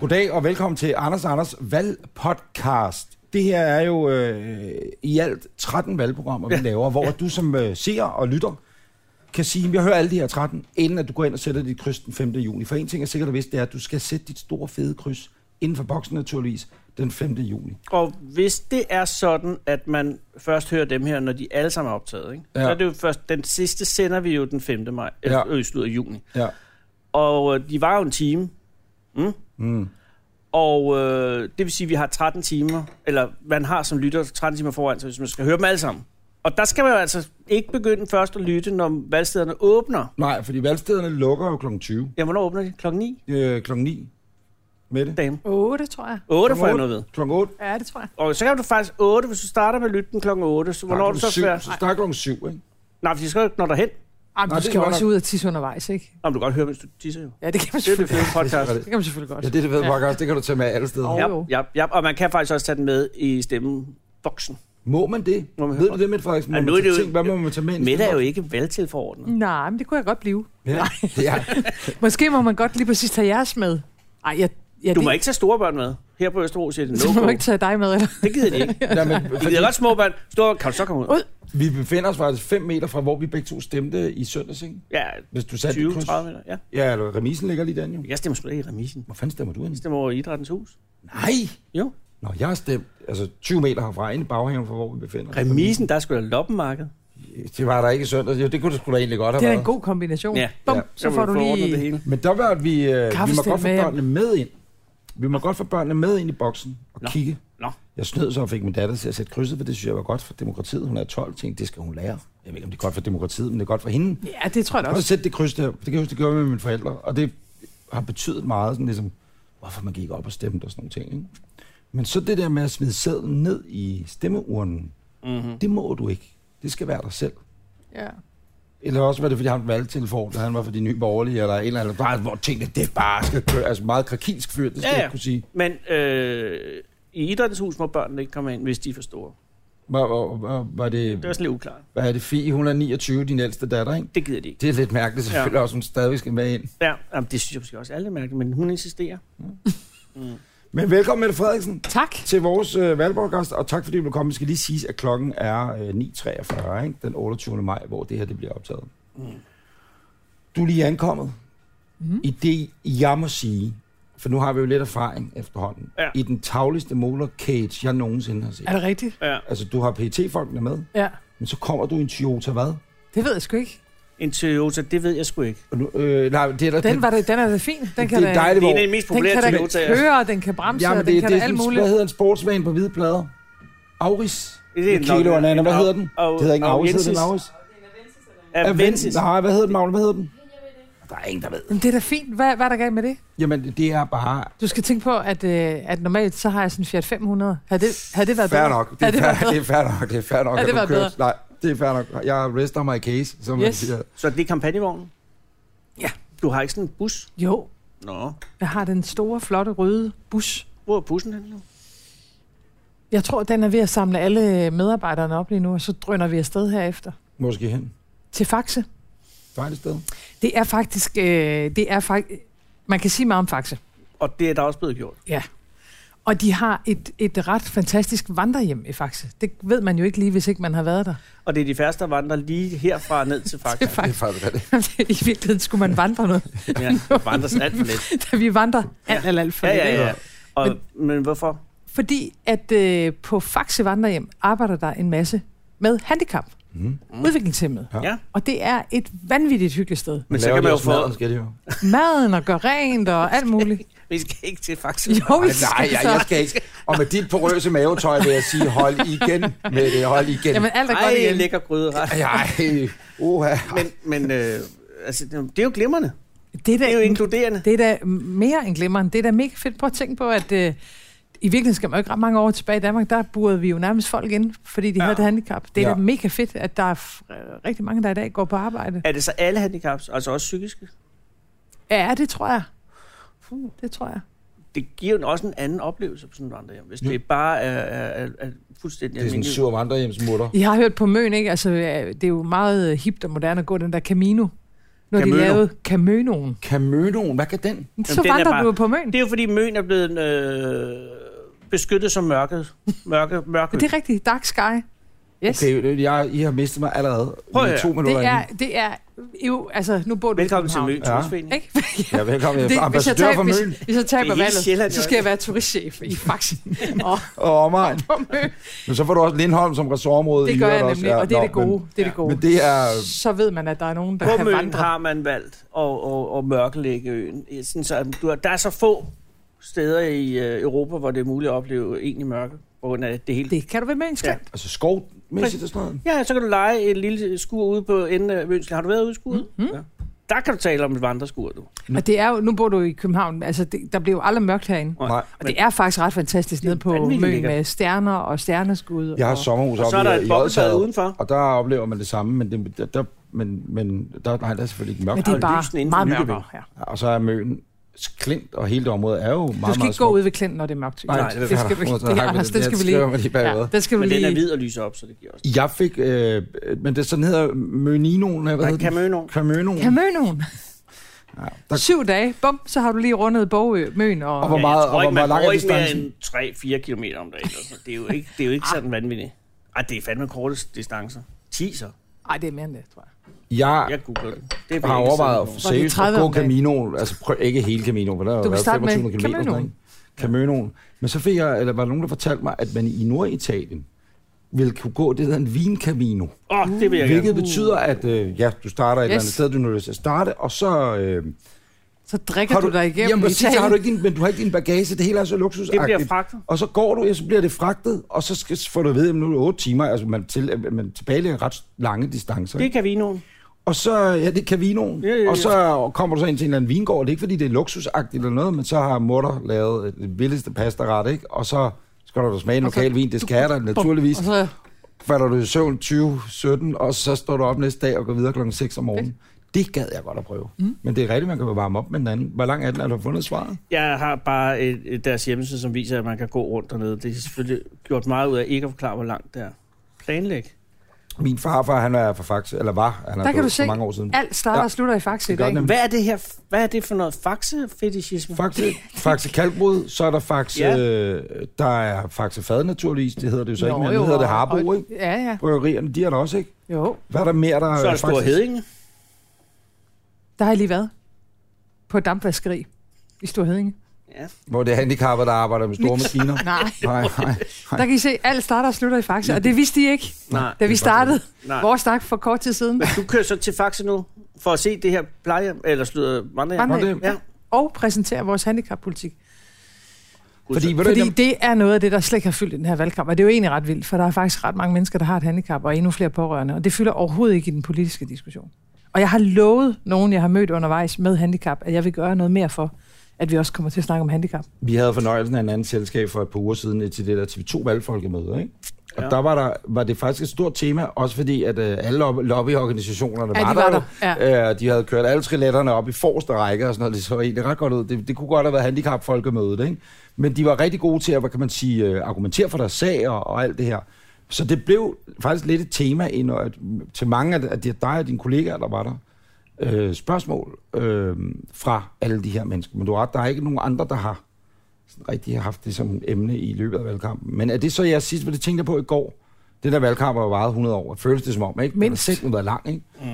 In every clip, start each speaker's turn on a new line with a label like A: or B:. A: Goddag og velkommen til Anders Anders Valgpodcast. Det her er jo øh, i alt 13 valgprogrammer, vi ja. laver, hvor ja. du som øh, ser og lytter kan sige, at jeg hører alle de her 13, inden at du går ind og sætter dit kryds den 5. juni. For en ting er sikkert og vist, det er, at du skal sætte dit store fede kryds inden for boksen naturligvis den 5. juni.
B: Og hvis det er sådan, at man først hører dem her, når de alle sammen er optaget, ikke?
A: Ja.
B: så er det jo først, den sidste sender vi jo den 5. maj,
A: Ja.
B: ja. øh, slutter af juni.
A: Ja.
B: Og øh, de var jo en time,
A: Mm.
B: og øh, det vil sige, at vi har 13 timer, eller man har som lytter 13 timer foran sig, hvis man skal høre dem alle sammen. Og der skal man jo altså ikke begynde først at lytte, når valgstederne åbner.
A: Nej, fordi valgstederne lukker jo kl. 20.
B: Ja, hvornår åbner de? Klokken 9?
A: Øh, kl. 9. Med det.
B: Dame.
C: 8, tror jeg.
B: 8 får jeg
A: otte.
B: noget ved.
A: Kl. 8.
C: Ja, det tror jeg.
B: Og så kan du faktisk 8, hvis du starter med at lytte den klokken 8. Så hvornår er du så
A: Så
B: færdig?
A: starter klokken 7, ikke?
B: Nej, for de skal jo ikke nå derhen.
C: Jamen,
A: Nej,
C: du
A: det
C: skal
A: er
C: også
A: nok-
C: ud og tisse undervejs, ikke?
B: Om du kan godt høre, mens du tisser jo.
C: Ja, det kan man
B: Det er jo det
C: selvfølgelig,
B: fede podcast.
A: Det er det.
C: det kan man selvfølgelig godt.
A: Ja, det er det ved podcast, det kan du tage med alle steder.
C: Og-
B: Ja,
C: Jo.
B: ja, ja, og man kan faktisk også tage den med i stemmeboksen.
A: Må man det?
B: Må man
A: Ved
B: høre-
A: du det, Mette Frederiksen? Må
B: Ja,
A: man
B: nu er
A: tage
B: det jo-
A: ting? Hvad må man tage med? ind i
B: Mette er jo
A: stemmeboksen?
B: ikke valgtilforordnet.
C: Nej, men det kunne jeg godt blive.
A: Ja. ja.
C: Måske må man godt lige præcis tage jeres med. Ej, jeg, jeg,
B: Du må ikke tage store børn med. Her på Østerbro siger det
C: Så må
B: no
C: man
B: go.
C: ikke tage dig med, eller?
B: Det gider de ikke.
A: Nej, men,
B: De
A: fordi
B: gider godt små børn. Store, kan du så komme ud?
C: Ud.
A: vi befinder os faktisk 5 meter fra, hvor vi begge to stemte i søndags, ikke?
B: Ja,
A: Hvis du satte 20,
B: 20-30 meter. Ja.
A: Ja, eller remisen ligger lige derinde, jo.
B: Jeg stemmer sgu da ikke i remisen.
A: Hvor fanden stemmer du
B: Jeg
A: ind?
B: stemmer over i Idrættens Hus.
A: Nej!
B: Jo.
A: Nå, jeg har stemt altså 20 meter herfra, inde i baghaven fra, hvor vi befinder os.
B: Remisen, der skulle sgu da loppenmarked.
A: Det var der ikke i søndags. Jo, det kunne du sgu da egentlig godt have
C: Det er da en
A: været.
C: god kombination.
B: Ja.
C: Bum,
A: Ja.
C: så får du
B: ordnet det
C: lige...
B: hele.
A: Men der var, at vi, øh, vi må
C: Kaffestel
A: godt få
C: med hjem.
A: børnene med ind. Vi må godt få børnene med ind i boksen og
B: Nå.
A: kigge.
B: Nå.
A: Jeg snød så og fik min datter til at sætte krydset, for det synes jeg var godt for demokratiet. Hun er 12, tænkte, det skal hun lære. Jeg ved ikke, om det er godt for demokratiet, men det er godt for hende.
C: Ja, det tror jeg da
A: Prøv at
C: også.
A: sætte det kryds der. Det kan jeg huske, det gjorde jeg med mine forældre. Og det har betydet meget, sådan ligesom, hvorfor man gik op og stemte og sådan nogle ting. Ikke? Men så det der med at smide sædlen ned i stemmeurnen,
B: Mm-hmm.
A: det må du ikke. Det skal være dig selv.
C: Ja.
A: Eller også var det, fordi han valgte til for, da han var for de nye borgerlige, eller en eller anden, der hvor tingene, det bare skal køre. Altså meget krakilsk fyr, det skal
B: Ja,
A: ja,
B: ja.
A: jeg ikke kunne sige.
B: Men øh, i Idrættens Hus må børnene ikke komme ind, hvis de er for store.
A: Var, var, var, var det,
B: Det er sådan lidt uklart.
A: hvad er det, Fie, hun er 29, din ældste datter, ikke?
B: Det gider de ikke.
A: Det er lidt mærkeligt, selvfølgelig ja. også, hun stadigvæk skal med ind.
B: Ja, jamen, det synes jeg måske også alle mærker, men hun insisterer. Mm.
A: Men velkommen, Mette Frederiksen.
C: Tak.
A: til vores øh, valgborgast, og tak fordi du kom. Vi skal lige sige, at klokken er øh, 9.43, ikke? den 28. maj, hvor det her det bliver optaget. Mm. Du er lige ankommet
C: Mhm.
A: mm. i det, jeg må sige, for nu har vi jo lidt erfaring efterhånden,
B: Ja.
A: i den tagligste motor cage, jeg nogensinde har set.
C: Er det rigtigt?
B: Ja.
A: Altså, du har pt folkene med,
C: Ja.
A: men så kommer du i en Toyota hvad?
C: Det ved jeg sgu ikke.
B: En Toyota, det ved jeg sgu ikke.
A: Og nu, øh, nej, det er der,
C: Den, var det, den er da fin. Den kan
A: det er
C: da,
A: dejligt,
B: Det er en
A: hvor...
B: af de mest
C: den
B: populære
C: kan da
B: Toyotaer.
C: køre, og den kan bremse, og
A: Jamen,
C: den
A: det,
C: kan
A: det
C: da
A: er
C: alt
A: sådan,
C: muligt.
A: hvad hedder en sportsvan på hvide plader? Auris?
B: Det er
A: Med kilo
B: nok-
A: og nana. Hvad
B: en-
A: hedder den?
B: og-
A: Det hedder ikke en
B: og
A: Auris, hedder
B: Jensis.
A: den Auris?
B: Ja, Vensis.
A: Avensis. Nej, hvad hedder den, Magne? Hvad hedder den? Der er ingen, der ved.
C: Jamen, det er da fint. Hvad, hvad er der galt med det?
A: Jamen, det er bare...
C: Du skal tænke på, at, øh, at normalt så har jeg sådan en Fiat 500. Havde det, havde det været
A: Fair
C: bedre?
A: nok. Det er,
C: Havde det været
A: fair,
C: bedre?
A: det er fair nok. Det er fair nok.
C: Ja,
A: at
C: det
A: du
C: var
A: kører-
C: bedre.
A: Nej, det er fair nok. Jeg rest on my case, som man
C: Yes.
A: siger.
B: Så det er kampagnevognen?
C: Ja.
B: Du har ikke sådan en bus?
C: Jo,
B: Nå.
C: jeg har den store, flotte, røde bus.
B: Hvor er bussen henne nu?
C: Jeg tror, den er ved at samle alle medarbejderne op lige nu, og så drøner vi afsted herefter.
A: Måske hen.
C: Til Faxe.
A: Dejligt sted.
C: Det er faktisk... Øh, det er fak- man kan sige meget om Faxe.
B: Og det er der også blevet gjort.
C: Ja. Og de har et, et ret fantastisk vandrehjem i Faxe. Det ved man jo ikke lige, hvis ikke man har været der.
B: Og det er de færreste, der vandrer lige herfra ned til Fakta.
C: Det er
A: Det er faktisk rigtigt.
C: I virkeligheden skulle man vandre noget.
B: Ja, vandres alt for lidt.
C: Da vi vandrer alt, alt, alt for
B: Ja,
C: lidt,
B: ja,
C: ikke?
B: ja. Og, men hvorfor?
C: Fordi at øh, på Faxe Vandrehjem arbejder der en masse med handicap.
A: Mm.
C: Mm. Udviklingshemmede.
A: Ja.
B: Ja.
C: Og det er et vanvittigt hyggeligt sted.
B: Men så kan man jo få...
A: Skal det jo.
C: Maden og gøre rent og alt muligt.
B: Vi skal ikke til Fakta.
C: Jo,
A: Ej,
C: vi
A: nej,
C: skal
A: jeg,
C: så.
A: jeg skal ikke. Og med dit porøse mavetøj vil jeg sige, hold igen med det. Hold igen.
C: Jamen alt er godt
B: Ej,
C: igen.
B: lækker gryderet.
A: Ej, oha.
B: Men, men øh, altså, det er jo glimrende.
C: Det er,
B: Det er jo
C: da,
B: inkluderende.
C: det er da mere end glimrende. Det er da mega fedt. Prøv at tænke på, at øh, i virkeligheden skal man jo ikke ret mange år tilbage i Danmark. Der burede vi jo nærmest folk ind, fordi de
B: Ja.
C: ja. havde et handicap. Det er
A: Ja.
C: ja. da mega fedt, at der er f- rigtig mange, der i dag går på arbejde.
B: Er det så alle handicaps, altså også psykiske?
C: Ja, det tror jeg. Det tror jeg.
B: Det giver jo også en anden oplevelse på sådan et vandrehjem, hvis det bare er, er, er, er
A: Det er sådan
B: fuldstændig
A: en
B: almindeligt.
A: sur vandrehjemsmutter.
C: I har hørt på Møn, ikke? Altså, øh, det er jo meget øh, hipt og moderne at gå den der Camino. når Camøno.
B: Camøno.
C: de lavede Camønoen.
A: Kamønoen, hvad kan den?
C: Så
B: den er
C: vandrer
B: bare-
C: bare... du på Møn.
B: Det er jo fordi Møn er blevet øh, beskyttet som mørket. Mørke, mørke.
C: Det er rigtigt. Dark Sky. Yes. Okay.
A: Okay, det- jeg, I har mistet mig allerede
B: Prøv at
A: i
B: høre.
A: to minutter.
C: Det er,
A: inden.
C: det er jo, altså, nu bor du i
B: Velkommen til Møn
C: København.
A: Ja.
B: Turistforening.
C: Ikke?
A: Ja, velkommen. Det,
C: Det, hvis, jeg
A: Øh, Ambassadør
C: tager,
A: for Møn
C: hvis, hvis jeg
B: Det er
C: taber
B: hele
C: valget,
B: Sjælland,
C: så skal
B: jo.
C: jeg være turistchef i Faxen. Og
A: og omegn.
C: på Møn.
A: Men så får du også Lindholm som ressortområde. i
C: Det gør jeg
A: øvrigt også.
C: nemlig, og det er
A: nå,
C: det gode.
A: Men,
C: Det er det gode.
A: men det er...
C: Så ved man, at der er nogen, der
B: På
C: kan
B: Møn
C: vandre.
B: har man valgt at, at, at mørkelægge øen. Ja, Sådan, så du har, der er så få steder i øh, Europa, hvor det er muligt at opleve egentlig mørke. På grund af det hele.
C: Det kan du være med en
B: Ja.
C: skæmt.
A: Altså skovmæssigt og sådan noget.
B: Ja, så kan du lege et lille skur ude på enden af Mønsel. Har du været ude i skuret? Mm.
C: Mm-hmm.
B: Ja. Der kan du tale om et vandreskur, du.
C: Og det er jo, nu bor du i København, altså det, der bliver jo aldrig mørkt herinde.
B: Nej.
A: Nej.
C: Og det er faktisk ret fantastisk nede på
B: vanvittigt
C: Møn
B: lækkert.
C: med stjerner og stjerneskud.
A: Jeg har
C: og-
A: sommerhus
B: Og så er
A: oppe
B: der
A: i-
B: et
A: i
B: bobbelbad
A: Odsherred,
B: udenfor.
A: og der oplever man det samme, men, det, der, der, men, men der, nej, der er selvfølgelig ikke
C: Men
A: mørkt.
C: det
B: Der er
C: er
B: jo lysene
C: bare
B: inden for
C: meget
B: Nykøbing.
C: mørkere. Ja.
A: Og så er møen klint, og hele det område er jo meget,
C: Du skal
A: meget
C: ikke gå
A: smukt.
C: ud ved Klinten, når det er mørkt.
A: Nej,
B: Nej, det
A: det,
C: det skal du ikke. Det, er Anders, det skal vi lige. Ja,
A: Ja.
C: det skal vi
B: Men den er
C: lige.
B: hvid og lyser op, så det giver også.
A: Jeg fik, øh, men det sådan hedder Møninoen, eller hvad
B: Nej,
A: hedder den?
B: Camøno.
A: Camønoen.
C: Kan møde nogen.
A: Ja, der,
C: Syv dage, bum, så har du lige rundet Bogø, Møn og...
A: Og hvor- meget- og hvor- hvor
B: man
A: lang er
B: går ikke mere
A: distancen?
B: end 3-4 km om dagen. eller sådan. Det er jo ikke, det er jo ikke
C: Ah.
B: sådan vanvittigt. Ej, det er fandme korte distancer. 10 så.
C: Ej, det er mere end det, tror jeg.
A: jeg
B: Jeg googler det. Det er
A: har
B: virkelig
A: overvejet
B: siden i morgen.
A: seriøst at
C: 30
A: gå
C: om dagen.
A: Caminoen, altså prøv, ikke hele Caminoen, for der har
C: kan
A: været
C: starte med
A: 25 km.
C: Caminoen.
A: Camønoen. Men så fik jeg, eller var der nogen, der fortalte mig, at man i Norditalien ville kunne gå det, der hedder en vincamino.
B: Åh, oh, det vil jeg gerne.
A: Hvilket betyder, at øh, ja, du starter et yes. eller andet sted, du er nødt til at starte, og så... Øh,
C: Så drikker du, dig igennem
A: jamen, præcis, så har du
C: Italien.
A: ikke din, men du har ikke din bagage, det hele er så
B: Det
A: luksusagtigt.
B: bliver fragtet.
A: og så går du, ja, så bliver det fragtet, og så skal, får du at vide, at nu er det 8 timer, altså man, til, man tilbagelægger ret lange distancer.
B: Det
A: Det.
B: er Cavinoen.
A: Og så, ja, det kan vinoen.
B: Ja, ja, ja.
A: Og så kommer du så ind til en eller anden vingård, og det er ikke fordi, det er luksusagtigt eller noget, men så har mutter lavet øh, det billigste pastaret, ikke? Og så skal du da smage en
C: Og så-
A: lokal vin, det skal jeg da naturligvis.
C: Og så
A: falder du i søvn 2017, og så står du op næste dag og går videre klokken 6 om morgenen. Det gad jeg godt at prøve. Mm. Men det er rigtigt, man kan varme op med den anden. Hvor lang er den? Har du fundet svaret?
B: Jeg har bare et, et deres hjemmeside, som viser, at man kan gå rundt dernede. Det er selvfølgelig gjort meget ud af ikke at forklare, hvor langt det er. Planlæg.
A: Min farfar, han er fra Faxe, eller var, han er
C: der kan
A: død
C: du
A: for
C: se,
A: mange år siden.
C: alt starter
A: Ja.
C: og slutter i Faxe i
A: Det gør
C: dag.
A: den nemlig.
B: Hvad er det her? Hvad er det for noget faxe-fetishisme?
A: Faxe, Faxe Kalkbrud, så er der Faxe,
B: Ja.
A: øh, der er Faxe Fad naturligvis, det hedder det jo så
C: Nå,
A: ikke, men
C: jo,
A: det hedder det
C: og-
A: Harbo,
C: og-
A: ikke?
C: Ja, ja.
A: Bryggerierne, de er der også, ikke?
C: Jo,
A: Hvad er der mere, der
B: Så er der Stor
A: faktisk-
B: Hedinge.
C: der har jeg lige været på et dampvaskeri i Stor Hedinge.
B: Ja.
A: Hvor det er handicappede, der arbejder med store
C: Niks.
A: maskiner.
C: Nej,
A: Nej, nej.
C: der kan I se, alt starter og slutter i Faxe, og det vidste I ikke,
B: Nej.
C: da vi startede
B: Nej.
C: vores snak for kort tid siden.
B: Men du kører så til Faxe nu, for at se det her plejehjem, eller slutter vandrehjem.
A: Nå,
C: Vandrehjem.
A: det,
B: Ja.
C: Og præsentere vores handicappolitik.
A: fordi, ved du,
C: Fordi
A: fordi...
C: det er noget af det, der slet ikke har fyldt i den her valgkamp, og det er jo egentlig ret vildt, for der er faktisk ret mange mennesker, der har et handicap, og endnu flere pårørende, og det fylder overhovedet ikke i den politiske diskussion. Og jeg har lovet nogen, jeg har mødt undervejs med handicap, at jeg vil gøre noget mere for, at vi også kommer til at snakke om handicap.
A: Vi havde fornøjelsen af en anden selskab for et par uger siden til det der TV2-valgfolkemøde, ikke? Og
B: Ja.
A: ja. der, var der var det faktisk et stort tema, også fordi at øh, alle lobby- lobbyorganisationerne
C: Ja,
A: var,
C: de var
A: der.
C: der,
A: Ja. Øh, de havde kørt alle trilletterne op i forreste række og sådan noget. Det så egentlig ret godt ud. Det, det kunne godt have været handicapfolkemødet, ikke? Men de var rigtig gode til at, hvad kan man sige, øh, argumentere for deres sag og, og alt det her. Så det blev faktisk lidt et tema ind, og at, mm, til mange af, de- af de- dig og dine kollegaer, der var der, øh, spørgsmål øh, fra alle de her mennesker. Men du har ret, der er ikke nogen andre, der har sådan rigtig har haft det som emne i løbet af valgkampen. Men er det så jeres sidste, for det tænkte jeg på i går, det der valgkamp har jo varet 100 år, føles det som om, ikke? Den har
C: Mindst.
A: selv nu været lang, ikke?
B: Mm.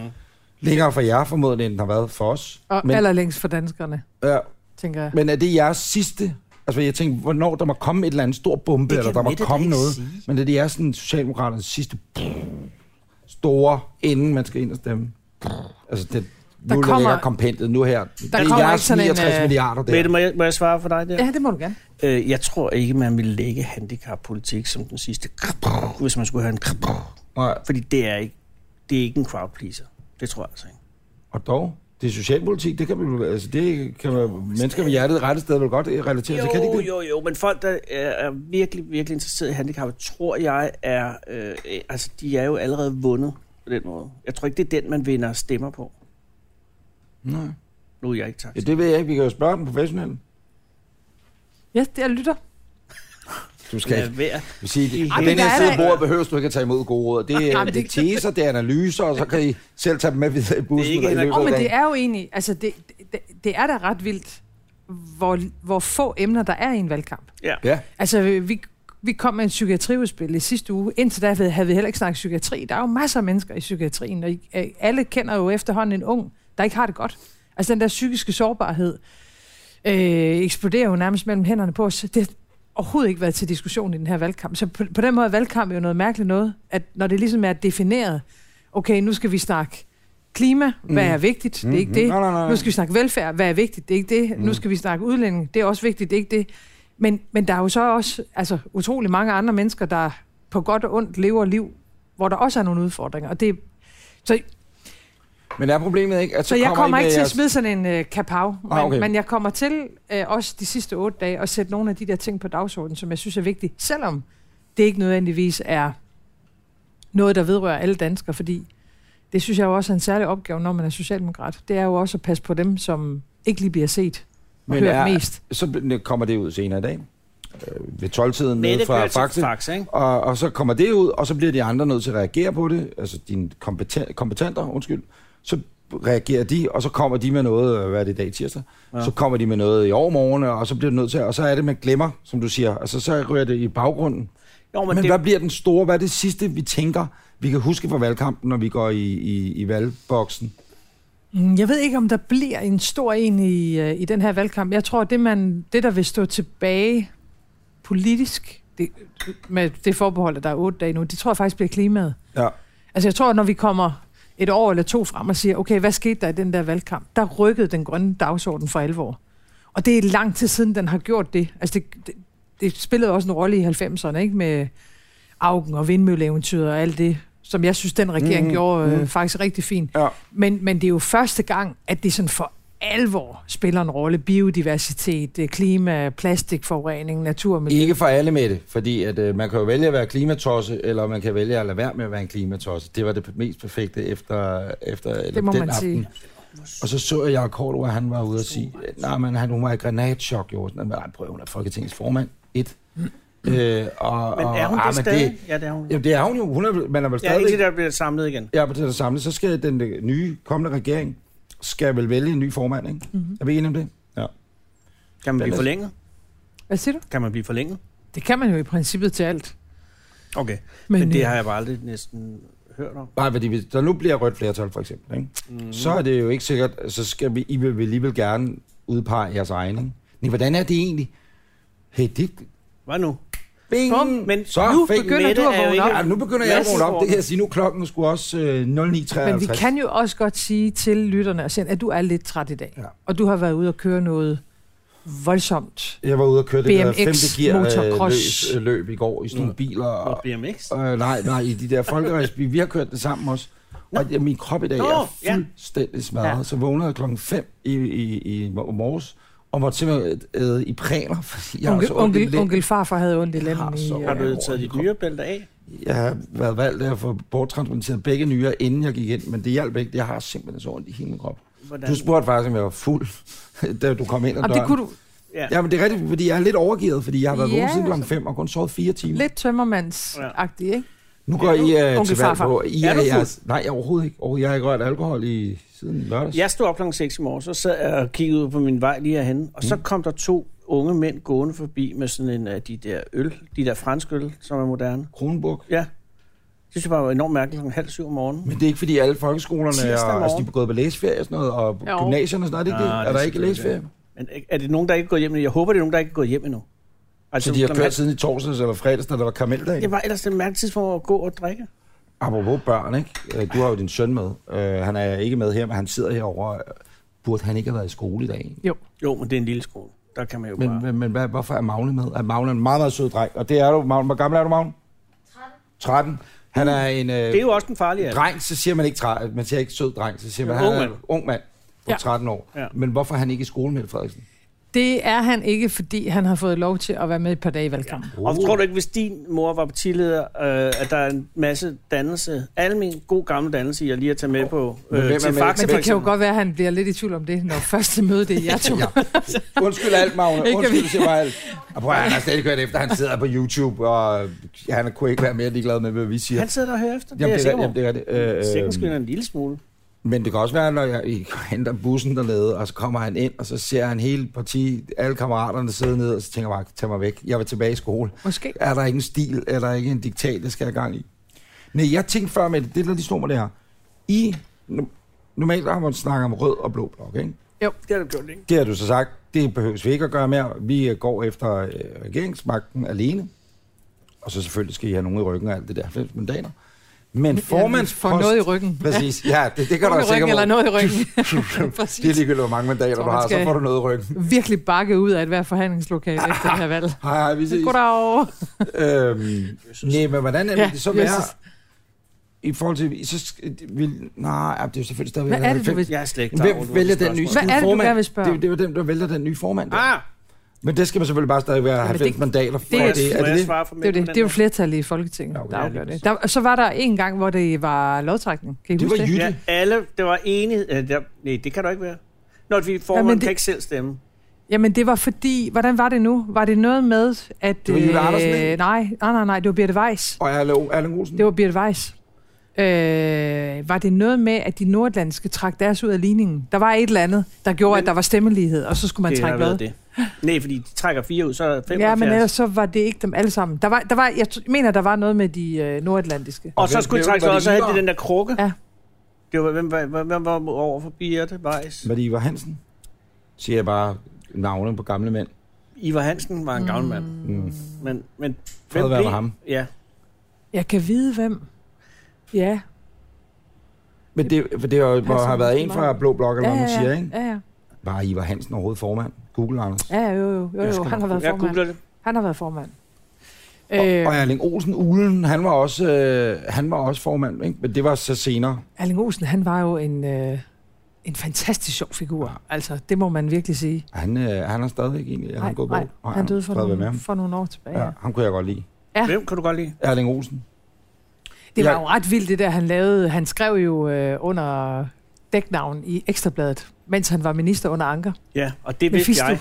A: Længere for jer formodentlig, end den har været for os.
C: Og Men...
A: Men-
C: allerlængst for danskerne,
A: Ja,
C: tænker jeg.
A: men er det jeres sidste, altså jeg tænkte, hvornår der må komme et eller andet stor bombe,
B: Det
A: eller
B: kan
A: der må
B: Mette da
A: komme
B: ikke
A: noget.
B: sige.
A: Men er det jeres sådan, Socialdemokraternes sidste store, inden man skal ind og stemme? Altså det, nu
C: Der
A: der
C: kommer-
A: kommer, ligger kompendet nu her. Der det
C: kommer
A: er
C: ikke
A: jeres
C: sådan en,
A: 69
C: øh,
A: milliarder der.
B: Mette, må jeg, må jeg svare for dig der?
C: Ja, det må du gerne.
B: Øh, jeg tror ikke, man vil lægge handicappolitik som den sidste, hvis man skulle have en
A: Nej,
B: Fordi det er ikke, det er ikke en crowd pleaser. Det tror jeg altså ikke.
A: Og dog, det er socialpolitik, det kan, man, jo- altså det kan man, mennesker med hjertet i rette sted vil godt eh, relatere til, Altså, kan de ikke det?
B: jo, jo, men folk, der er er virkelig, virkelig interesseret i handicap, tror jeg er, øh, øh, altså de er jo allerede vundet på den måde. Jeg tror ikke, det er den, man vinder stemmer på.
A: Nej.
B: Nu er jeg ikke tak.
A: Ja, det ved jeg ikke, vi kan jo spørge den professionelle.
C: Ja, det, jeg lytter.
A: Du skal ikke.
B: Lad være.
A: Jeg vil sige,
B: I
A: Ej, den
C: der
A: her
C: er
A: side af
C: der-
A: bordet behøver du ikke at tage imod gode råd. Det er,
C: Jamen,
A: det
C: det-
A: er teser, det er analyser, og så kan I selv tage dem med videre i bussen.
B: Det er ikke
A: og i
B: Henrik-
A: løbet
C: Åh,
A: af
C: oh, men
A: dagen.
C: det er jo egentlig, altså det, det, det er da ret vildt, hvor, hvor få emner der er i en valgkamp.
B: Ja.
A: Ja,
C: Altså vi, vi kom med en psykiatriudspil i sidste uge. Indtil da havde vi heller ikke snakket psykiatri. Der er jo masser af mennesker i psykiatrien, og I- øh, alle kender jo efterhånden en ung, der ikke har det godt. Altså den der psykiske sårbarhed øh, eksploderer jo nærmest mellem hænderne på os. Det har overhovedet ikke været til diskussion i den her valgkamp. Så på, på den måde er valgkamp jo noget mærkeligt noget, at når det ligesom er defineret, okay, nu skal vi snakke klima, hvad er vigtigt, det er ikke
A: Mhm.
C: det.
A: Nej, nej, nej.
C: Nu skal vi snakke velfærd, hvad er vigtigt, det er ikke det.
A: Mm.
C: Nu skal vi snakke udlænding, det er også vigtigt, det er ikke det. Men, men der er jo så også altså, utrolig mange andre mennesker, der på godt og ondt lever liv, hvor der også er nogle udfordringer. Og det, så
A: men er problemet ikke, at så,
C: så jeg kommer
A: I med
C: ikke til at
A: jeres-
C: smide sådan en øh, kapav, men,
A: Ah, okay.
C: men jeg kommer til øh, også de sidste otte dage at sætte nogle af de der ting på dagsordenen, som jeg synes er vigtige, selvom det ikke nødvendigvis er noget, der vedrører alle danskere, fordi det synes jeg jo også er en særlig opgave, når man er socialdemokrat. Det er jo også at passe på dem, som ikke lige bliver set og
A: Men
C: hørt
A: er-
C: mest.
A: Så bl- kommer det ud senere i dag. Øh, ved 12-tiden nede
B: Mette
A: fra
B: kører til
A: Faxe.
B: Faxe, ikke?
A: Og, og så kommer det ud, og så bliver de andre nødt til at reagere på det. Altså dine kompeten- kompetenter, undskyld. Så reagerer de, og så kommer de med noget, øh, hvad er det i dag, tirsdag? Ja. Så kommer de med noget i overmorgen, og så bliver det nødt til, og så er det, man glemmer, som du siger. Altså så ryger det i baggrunden.
B: Jo, men,
A: Men, Men
B: det,
A: hvad bliver den store, hvad er det sidste, vi tænker, vi kan huske fra valgkampen, når vi går i, i, i valgboksen?
C: Mm, Jeg ved ikke, om der bliver en stor en i, øh, i den her valgkamp. Jeg tror, det, man, det der vil stå tilbage politisk, det, med det forbehold, at der er otte dage nu, det tror jeg faktisk bliver klimaet.
A: Ja.
C: Altså jeg tror, at når vi kommer et år eller to frem og siger, okay, hvad skete der i den der valgkamp? Der rykkede den grønne dagsorden for alvor. Og det er lang tid siden, den har gjort det. Altså det, det, det spillede også en rolle i 90'erne, ikke? Med Augen og vindmølleeventyret og alt det, som jeg synes, den regering
A: Mhm,
C: mm, gjorde øh,
A: mhm.
C: faktisk rigtig fint.
A: ja.
C: Men, men det er jo første gang, at det sådan for alvor spiller en rolle. Biodiversitet, øh, klima, plastikforurening, natur og miljø.
A: Ikke for alle med det, fordi at, øh, man kan jo vælge at være klimatosse, eller man kan vælge at lade være med at være en klimatosse. Det var det mest perfekte efter, efter eller
C: Det må
A: den
C: man
A: aften.
C: sige.
A: Og så så jeg Jacob Cordua, han var ude og sige, nej, men han, hun var i granatchok, jo. Sådan, nej, prøv, hun er Folketingets formand. Et. Øh, og,
B: men er hun
A: og, ah,
B: det stadig?
A: Det,
B: ja, det er hun.
A: jamen, det er hun jo. Hun er, man er vel
B: Ja,
A: stadig...
B: ikke det, der bliver samlet igen.
A: Ja, på det der samlet, så skal den øh, nye kommende regering skal vel vælge en ny formand, ikke? Mm-hmm. Er vi enige om det? Ja.
B: Kan man
A: Den
B: blive
A: er-
B: forlænget?
C: Hvad siger du?
B: Kan man blive forlænget?
C: Det kan man jo i princippet til alt.
B: Okay, men,
C: øh,
B: det har jeg bare aldrig næsten hørt om.
A: Bare fordi, hvis der nu bliver rødt flertal, for eksempel, ikke? Mm-hmm. så er det jo ikke sikkert, så skal vi, I vil vel alligevel gerne udpege jeres egen, ikke? Men hvordan er det egentlig? Hey, det...
B: Hvad nu?
A: Bing!
C: Bum,
B: men
A: så
C: nu
A: fik-
C: begynder
B: Mette
C: du
B: er jo
C: at vågne
B: ikke-
C: op.
A: Ja, nu begynder jeg at
B: Mads-
A: vågne op. Det kan jeg sige, nu er klokken sgu også øh, 09.53.
C: Men vi kan jo også godt sige til lytterne og sende, at du er lidt træt i dag,
A: Ja.
C: ja. og du har været ude og køre noget voldsomt.
A: Jeg var ude og køre det der
C: BMX
A: femte gear øh,
C: motocross.
A: løs, øh, løb i går i sådan nogle biler.
B: På
A: Og,
B: BMX?
A: Øh, nej, nej, i de der folkerejs. Vi, vi har kørt det sammen også. Og ja, min krop i dag
B: Nå,
A: er
B: ja.
A: fuldstændig smadret. Ja.
C: Ja.
A: Så vågnede jeg klokken 5 i, i, i morges, og måtte simpelthen øh, i præner, fordi jeg har
C: Onkel,
A: så ondt i
C: onkel,
A: lænden.
C: onkel farfar havde ondt i
A: Jeg har
C: lænden. i,
A: så
B: Har
C: øh,
A: Ja,
B: du taget
A: ordentligt.
B: de dyrebælter af?
A: Jeg har været valgt af at få borttransplanteret begge nyrer, inden jeg gik ind, men det hjalp ikke. Jeg har simpelthen så ondt i hele min krop.
B: Hvordan?
A: Du spurgte faktisk, om jeg var fuld, da du kom ind ad
C: Jamen,
A: døren.
C: det kunne du
B: Ja.
A: Ja, men det er rigtigt, fordi jeg er lidt overgivet, fordi jeg har været
C: Ja.
A: yeah. vågen siden klokken 5 og kun sovet fire timer.
C: lidt tømmermandsagtigt, ikke?
A: Nu går I uh,
C: Onkel
A: til valg
C: farfar.
A: på... I
B: Er du fuld?
A: jeres, nej, jeg overhovedet ikke. Og jeg har ikke rørt alkohol i siden lørdags.
B: Jeg stod op klokken 6 i morges, så sad jeg og kiggede ud på min vej lige herhen, og så
A: Mm.
B: kom der to unge mænd gående forbi med sådan en af de der øl, de der franske øl, som er moderne.
A: Kronenburg.
B: Ja. Det synes jeg bare var enormt mærkeligt klokken halv syv om morgenen.
A: Men det er ikke, fordi alle folkeskolerne
B: Tirsdag
A: er,
B: morgen.
A: altså, de er gået på læseferie og sådan noget, og
C: Jo.
A: gymnasierne og sådan noget, er det ikke
B: Nej,
A: det?
B: det
A: Er der
B: er
A: ikke
B: selvfølgelig
A: læseferie?
B: Men er det nogen, der ikke er gået hjem nu? Jeg håber, det er nogen, der ikke er gået hjem endnu. Altså,
A: Så Altså, de har
B: klokken
A: kørt
B: halv-
A: siden i torsdags eller fredags, da der var karameldag?
B: Det var ellers det mærkelige tidspunkt at gå og drikke.
A: Apropos børn, ikke? Øh, Du har jo din søn med. Øh, Han er ikke med her, men han sidder herovre. Burde han ikke have været i skole i dag?
C: Jo.
B: Jo, men det er en lille skole. Der kan man jo
A: Men,
B: bare...
A: men, men hvad, hvorfor er Magne med? Er Magne en meget, meget sød dreng? Og det er du, Magne. Hvor gammel er du, Magne? 13. 13. Han er en øh,
B: Det er jo også den farlige alder.
A: dreng, så siger man ikke, tra- man siger ikke sød dreng, så siger man,
B: En
A: han
B: ung
A: er
B: mand.
A: en ung mand på
C: Ja.
A: 13 år.
B: Ja.
A: Men hvorfor er han ikke i skole, Mette Frederiksen?
C: Det er han ikke, fordi han har fået lov til at være med et par dage i valgkampen.
B: Og tror du ikke, hvis din mor var partileder, øh, at der er en masse dannelse, almen god gammel dannelse, jeg lige at tage med på
A: Men hvem
B: øh,
A: er
B: til
A: med?
B: Faxe
C: Men
B: for
C: det kan jo
B: eksempel?
C: godt være, at han bliver lidt i tvivl om det, når første møde det er jer to.
A: Undskyld alt, Magne.
C: Ikke,
A: Undskyld,
C: vi-
A: siger bare alt. Og prøv, at høre, han har stadig kørt efter, han sidder på YouTube, og øh, han kunne ikke være mere ligeglad med, hvad vi siger.
B: Han sidder der og hører efter, det er
A: Jamen,
B: jeg
A: det er, rigtigt,
B: sikker
A: jamen,
B: på.
A: det er rigtigt. Øh,
B: Sikken skynder en lille smule.
A: Men det kan også være, når jeg I henter bussen dernede, og så kommer han ind, og så ser han hele parti, alle kammeraterne sidde ned, og så tænker jeg bare, tag mig væk, jeg vil tilbage i skole.
C: Måske.
A: Er der ikke en stil, er der ikke en diktat, jeg skal have gang i? Nej, jeg tænkte før med det, det der lige stod mig det her. I, nu- normalt har man snakket om rød og blå blok, ikke?
B: Det har du gjort, ikke?
A: Det har du så sagt, det behøves vi ikke at gøre mere. Vi øh, går efter øh, regeringsmagten alene. Og så selvfølgelig skal I have nogen i ryggen og alt det der, 90 mandater. Men
C: For
A: formandspost...
C: noget i ryggen.
A: Præcis, ja, det, det kan du
C: Nogen i
A: også
C: ryggen
A: sikkert.
C: eller noget i ryggen.
A: Det er
C: Præcis.
A: ligegyldigt, hvor mange mandater
C: Tror,
A: du
C: man
A: har, så
C: skal-
A: får du noget i ryggen.
C: Virkelig bakke ud af et hver forhandlingslokale efter det her valg.
A: Hej, hej, vi ses.
C: Goddag.
A: Øhm, nej, men hvordan
C: Ja,
A: er det så
C: Jesus.
A: være i forhold til... Så sk- vil, nej, det er jo selvfølgelig stadigvæk...
C: Hvad er det, du
A: 90.
C: vil-
B: Jeg er slet ikke klar over,
A: Hvem
B: du
A: vælger
B: har
A: den nye
B: spørgsmål.
C: Hvad er det, du
A: formand?
C: gerne vil spørge om?
A: Det, det er jo dem, der vælger den nye formand. Der.
B: Ah,
A: Men det skal man selvfølgelig bare stadig være
C: Jamen,
A: 90
C: det-
A: mandater for.
B: det,
A: er
B: er,
A: det, er det,
B: jeg
A: det?
B: svare for
C: Det er, jo det.
B: mænd på
C: det er jo
B: den
C: flertallet i Folketinget,
A: Ja, okay.
C: der
B: Ja,
C: afgør
B: lige
C: det. Der, så var der en gang, hvor det var lodtrækning. Kan I
A: Det
C: huske
A: var
C: det?
B: her.
A: Jytte.
B: Ja, alle, det var enighed. Øh, der, nej, det kan du ikke være. Når vi formanden
C: Jamen, det-
B: kan ikke selv stemme.
C: Jamen, det var fordi... Hvordan var det nu? Var det noget med, at... øh,
A: Det var Jytte Andersen, ikke?
C: nej, nej, nej, nej, det var Birte Weiss.
A: Og Erle- Erling Olsen.
C: Mm. Det var Birte Weiss. Øh, var det noget med, at de nordlandske trak deres ud af ligningen? Der var et eller andet, der gjorde,
B: Men-
C: men, at der var stemmelighed, og så skulle man
B: det har
C: trække lod.
B: været det. Nej, fordi de trækker fire ud, så er der fem.
C: Ja, men ellers så var det ikke dem alle sammen. Der var, der var, jeg t- mener, der var noget med de øh, nordatlantiske.
B: Og så
A: Hvem
B: skulle de
A: blev-
B: trække
A: var
B: sig
A: det
B: også hen
A: Ivar?
B: til den der krukke.
C: Ja.
B: Det var, hvem, var- hvem, hvem var over for Birte Weiss?
A: Var det Ivar Hansen? Siger jeg bare navne på gamle mænd.
B: Ivar Hansen var en gammel mand.
A: Mm.
B: Men, men
A: Fred være med ham.
B: Ja.
C: Jeg kan vide, hvem. Ja.
A: Men det, for det er jo- hvor
C: passer
A: har været en
C: meget.
A: fra Blå Blok, eller
C: ja,
A: hvad man
C: ja,
A: siger,
C: ja.
A: ikke?
C: Ja, ja.
A: Var Ivar Hansen overhovedet formand? Google, Anders.
C: Ja, jo, jo, jo,
A: Jeg
C: jo.
A: skal
C: Han har været
B: Jeg
C: formand.
B: googler det.
C: Han har været formand.
A: Øh. Og
C: Øh,
A: Erling Olsen, Ulen, han var også, øh, han var også formand, ikke? men det var så senere.
C: Erling Olsen, han var jo en, øh, en fantastisk sjov figur. Altså, det må man virkelig sige.
A: Han, øh, han er stadig ikke egentlig, eller han er gået
C: nej,
A: bort.
C: han døde for
A: fred være med
C: nogle,
A: ham.
C: for nogle år tilbage.
A: Ja,
C: Ja.
A: ham kunne jeg godt lide.
C: Ja.
B: Hvem kan du godt lide?
A: Erling Olsen.
C: Det var
A: Jeg-
C: jo ret vildt, det der, han lavede. Han skrev jo øh, under dæknavn i Ekstrabladet, mens han var minister under Anker.
B: Ja, og det vidste
C: Mephisto.
B: jeg.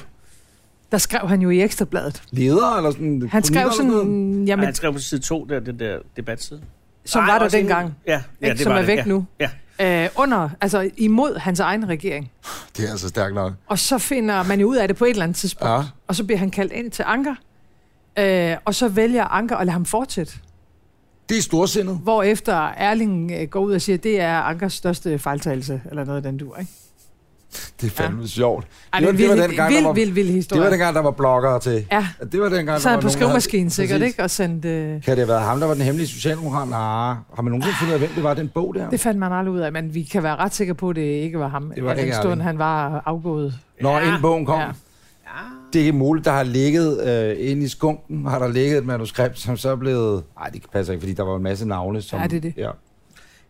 C: Der skrev han jo i Ekstrabladet.
A: Leder eller sådan?
C: Han skrev
A: kronikker eller noget?
C: sådan,
B: Jamen,
C: jamen,
B: han skrev på side 2 der, den der debatside.
C: som
B: Altså, Ej,
C: var der
B: også inden-
C: dengang,
B: Ja, ja
C: ikke,
B: det
C: som
B: var
C: er
B: det.
C: væk
B: ja.
C: nu.
B: Ja.
C: Øh, under, altså imod hans egen regering.
A: Det er altså stærkt nok.
C: Og så finder man jo ud af det på et eller andet tidspunkt.
A: Ja.
C: Og så bliver han kaldt ind til Anker. Øh, og så vælger Anker at lade ham fortsætte.
A: Det er storsindet.
C: Hvorefter Erling øh, går ud og siger, at det er Ankers største fejltagelse, eller noget af den dur, ikke?
A: Det er fandme ja. sjovt.
C: Ej,
A: Det var-
C: en
A: det var
C: vild,
A: dengang, der
C: vild,
A: var-
C: vild, vild
A: Det
C: historie.
A: var dengang, der var bloggere til.
C: Ja,
A: Det var dengang,
C: så
A: der
C: er
A: var
C: han på
A: nogen, der
C: skrivemaskinen
A: havde-
C: sikkert,
A: Præcis.
C: ikke? Og sendte... Øh,
A: Kan det have været ham, der var den hemmelige socialdemokrat? Nej, har man nogensinde fundet ud af, hvem det var, den bog der?
C: Ah. det fandt man aldrig ud af, men vi kan være ret sikre på, at det ikke var ham.
A: Det var
C: al den
A: ikke
C: stund,
A: Erling.
C: han var afgået.
A: Når ja. en bogen kom. Ja.
C: Ja.
A: Det er muligt, der har ligget øh, inde i skunken, har der ligget et manuskript, som så er blevet... Nej, det passer ikke, fordi der var en masse navne, som...
C: Ja, det er det.
A: Ja.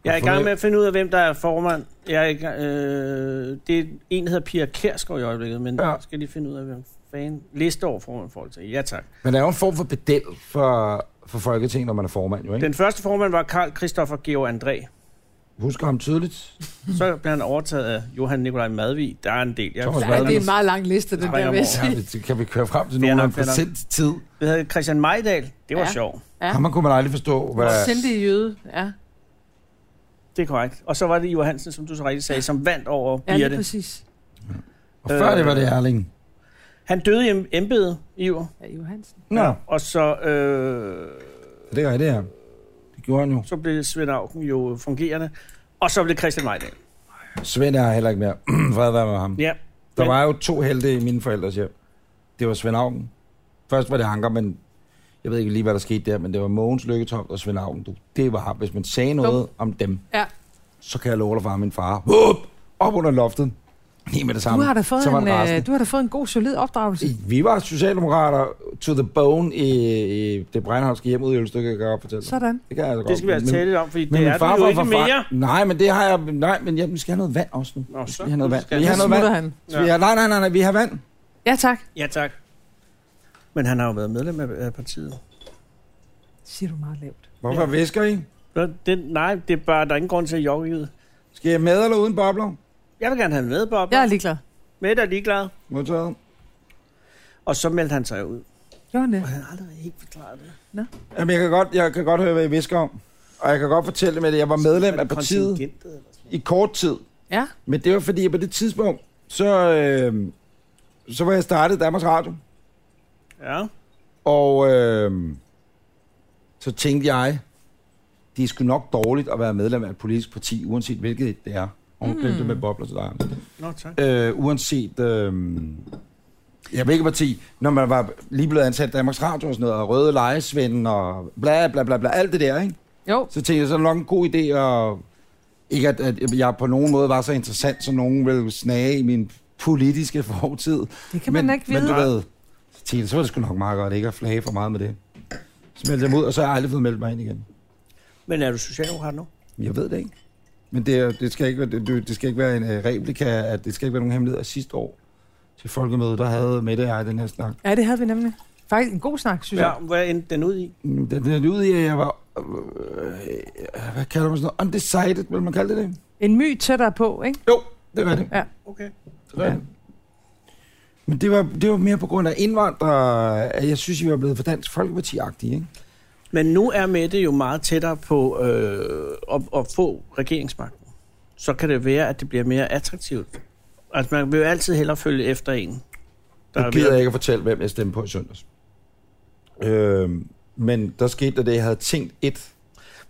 B: Jeg er i
A: Hvorfor
B: gang
A: det?
B: med at finde ud af, hvem der er formand. Jeg er i gang, øh, det er en, der hedder Pia Kærsgaard i øjeblikket, men
A: Ja.
B: ja. skal lige finde ud af, hvem fanden liste over formand for til. Ja, tak.
A: Men der er jo en form for pedel for, for Folketinget, når man er formand, jo, ikke? Den.
B: Den første formand var Karl Christoffer Georg André.
A: Husker ham tydeligt.
B: Så blev han overtaget af Johan Nikolaj Madvig. Der er en del. Jeg
A: Thomas
C: Ja, det er
A: Madvig.
C: en meget lang liste, den
B: Springer
C: der, vil jeg
B: over.
C: sige.
A: Ja, det kan vi køre frem til
B: Fair
A: nogen
B: nok,
A: af en
B: fair nok.
A: procent tid.
B: Det hedder Christian Mejdal. Det var ja.
C: Ja.
B: sjovt.
C: Ja.
A: Ham kunne man aldrig forstå, hvad...
C: Sindig jøde, ja.
B: Det er korrekt. Og så var det Ivar Hansen, som du så rigtigt sagde, som vandt over
C: Ja, lige
B: Birte.
C: præcis.
A: Og før det var det Erling.
B: Han døde i embedet, Ivar.
C: Ja, Johansen.
A: Nå,
B: Og så, øh,
A: det er det her. Det gjorde han jo.
B: så blev Svend Auken jo fungerende. Og så blev Christian Mejdal.
A: Svend er heller ikke mere. Fred være med ham.
B: Ja.
A: Der
B: Men-
A: var jo to helte i mine forældres hjem. Det var Svend Auken. Først var det Anker, men jeg ved ikke lige, hvad der skete der, men det var Mogens Lykketoft og Svend Auken. Du, det var ham. Hvis man sagde noget om dem,
C: Ja.
A: så kan jeg love dig, far, min far. Whoop! Op under loftet. Lige med det
C: Du
A: samme.
C: har, da fået
A: så var
C: en,
A: det resten.
C: øh, du har da fået en god, solid opdragelse.
A: Vi var socialdemokrater to the bone i, i det Breinholdske hjem ude i Ølstykke, jeg kan godt fortælle dig.
C: Sådan.
A: Det kan jeg altså godt.
B: Det skal vi altså
A: Men-
B: tale lidt om, fordi
A: men
B: det
A: min
B: er
A: far
B: det jo
A: var
B: ikke
A: for
B: mere.
A: far. Nej, men det har jeg... Nej, men jeg, vi skal have noget vand også nu.
B: Nå,
A: vi
B: så-
A: skal have noget
B: nu
A: vand.
B: skal
A: Vi
B: jeg-
A: har
C: Så
A: noget
C: smutter
A: vand.
C: han.
A: Skal vi have, nej, nej, nej, nej, vi har vand.
C: Ja, tak.
B: Ja, tak. Men han har jo været medlem af af partiet.
C: Siger du meget lavt.
A: Hvorfor ja. væsker I?
B: Nå, Det, nej, det er bare, der er ingen grund til at jokke i det.
A: Skal jeg med eller uden bobler?
B: Jeg vil gerne have en med, Bob.
C: Jeg er
B: Ja.
C: ligeglad.
B: Med er ligeglad.
A: Modtaget.
B: Og så meldte han sig ud.
C: Gjorde han det?
B: Og han har aldrig helt forklaret det.
A: Jamen, jeg kan, godt, jeg kan godt høre, hvad I visker om. Og jeg kan godt fortælle med det. Jeg var medlem af partiet
B: Kontingentet eller sådan
A: i kort tid.
C: Ja.
A: Men det var fordi, at på det tidspunkt, så, øh, så var jeg startet Danmarks Radio.
B: noget.
A: Og øh, så tænkte jeg, det er sgu nok dårligt at være medlem af et politisk parti, uanset hvilket det er. Og hun mm. det med bobler til dig.
B: Ja. Nå, tak.
A: Øh, uanset... Øh, ja, hvilket parti, når man var lige blevet ansat i Danmarks Radio og sådan noget, og Røde Lejesvend og bla bla bla bla, alt det der, ikke?
C: Jo.
A: Så tænkte jeg, så er det nok en god idé at... Ikke at, at jeg på nogen måde var så interessant, så nogen ville snage i min politiske fortid.
C: Det kan man
A: men,
C: da ikke vide.
A: Men du ved, så tænkte jeg, så var det sgu nok meget godt ikke at flage for meget med det. Så meldte jeg mig ud, og så har jeg aldrig fået meldt mig ind igen.
B: Men er du socialdemokrat nu?
A: Jeg ved det ikke. Men det, er- det, skal, ikke, være- det, det skal ikke være en øh, replika, at det skal ikke være nogen hemmelighed. at Sidste år til folkemødet, der havde Mette og jeg den her snak.
C: Ja, det havde vi nemlig. Faktisk en god snak, synes jeg.
B: Ja, hvad endte den ud i?
A: Mm, Den er ud i, at jeg var... Øh, øh, hvad kalder man sådan noget? Undecided, vil man kalde det det?
C: En my tættere på, ikke?
A: Jo, det var det.
B: Okay.
A: Ja. Men det var, det var mere på grund af indvandrere, at jeg synes, I var blevet for Dansk Folkeparti-agtige, ikke?
B: Men nu er Mette jo meget tættere på øh, at, at få regeringsmagten. Så kan det være, at det bliver mere attraktivt. Altså, man vil jo altid hellere følge efter en. Der
A: Nu
B: er
A: gider
B: ved-
A: jeg ikke at fortælle, hvem jeg stemte på i søndags. Øhm, men der skete der det, jeg havde tænkt et,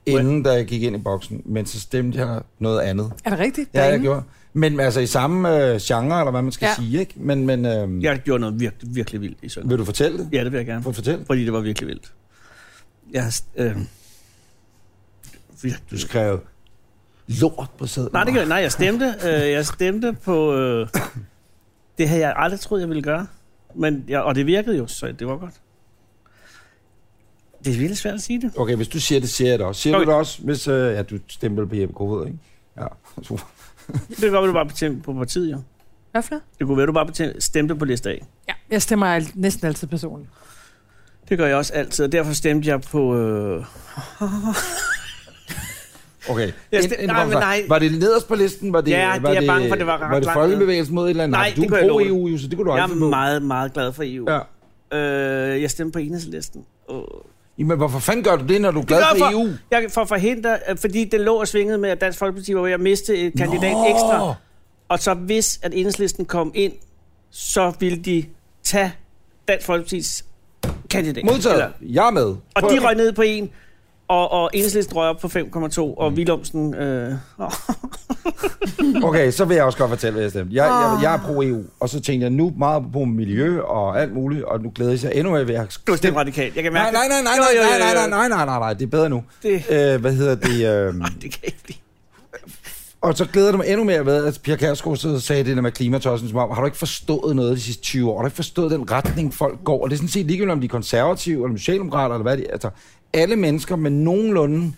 A: inden da jeg gik ind i boksen, men så stemte jeg noget andet.
C: Er det rigtigt?
A: Ja, jeg
C: Derinde?
A: gjorde. Men altså i samme øh, genre, eller hvad man skal ja.
C: Ja.
A: sige, ikke? Men, men øhm, ja.
B: Jeg gjorde noget virkelig, virkelig vildt i søndag.
A: vil du fortælle det?
B: Ja, det vil jeg gerne.
A: For fortæl.
B: Fordi det var virkelig vildt. Jeg har... st- Øh, virkelig.
A: Du skrev lort på sædet.
B: Nej, det gør, nej, jeg stemte. Øh, jeg stemte på... Øh, det havde jeg aldrig troet, jeg ville gøre. Men jeg, og det virkede jo, så det var godt. Det er virkelig svært at sige det.
A: Okay, hvis du siger det, siger jeg det også. Siger okay.
B: Okay.
A: du det også, hvis... Øh, ja, du stemte vel på Jeppe Kofod, ikke? Ja, super.
B: Det kan godt være, du bare bestemte på partiet, jo.
C: Hvad for noget?
B: Det kunne være, du bare bestemte, stemte på liste A.
C: Ja, jeg stemmer alt, næsten altid personligt.
B: Det gør jeg også altid, og derfor stemte jeg på... Øh,
A: Okay.
B: Jeg
A: Ind-
B: stem-
A: ind-
B: nej,
A: kom
B: men
A: så.
B: nej.
A: Var det nederst på listen? Var det,
B: Ja, det
A: var
B: er jeg bange for, det var ret
A: Var det
B: langt
A: folkebevægelsen mod et eller andet?
B: Nej, det
A: du
B: kunne
A: er
B: jeg love dig.
A: pro-EU, jo, så det kunne du
B: jeg
A: aldrig finde
B: er
A: på.
B: meget, meget glad for EU.
A: Ja.
B: Øh, jeg stemte på enhedslisten. Åh.
A: Jamen, hvorfor fanden gør du det, når du er glad
B: gør jeg
A: for E EU?
B: Jeg, for at forhindre, øh, fordi det lå og svingede med, at Dansk Folkeparti var ved at miste et kandidat
A: Nå.
B: ekstra. Og så hvis, at enhedslisten kom ind, så ville de tage Dansk Folkepartis kandidat.
A: Modtaget. Jeg er med.
B: og
A: Prøv-
B: de røg ned på en, og, og enhedslisten røg op på 5,2, og Willumsen... Øh, åh.
A: Okay, så vil jeg også godt fortælle, hvad jeg stemte. Jeg, jeg, jeg er pro-EU, og så tænkte jeg nu meget på miljø og alt muligt, og nu glæder jeg sig endnu mere ved at...
B: du er stemt radikalt. Jeg kan mærke
A: Nej, nej, nej, nej,
B: Jo, jo, jo,
A: nej, nej,
B: jo.
A: nej, nej, nej, nej, nej, det er bedre nu.
B: Det-
A: Øh, hvad hedder det? Øh,
B: Det kan jeg ikke lide.
A: Og så glæder det mig endnu mere ved, at Pia Kærsgaard så sagde det der med klimatossen, som om, har du ikke forstået noget de sidste 20 år? Har du ikke forstået den retning, folk går? Og det er sådan set ligegyldigt, om de er konservative, eller socialdemokrater, eller hvad de Altså, alle mennesker med nogenlunde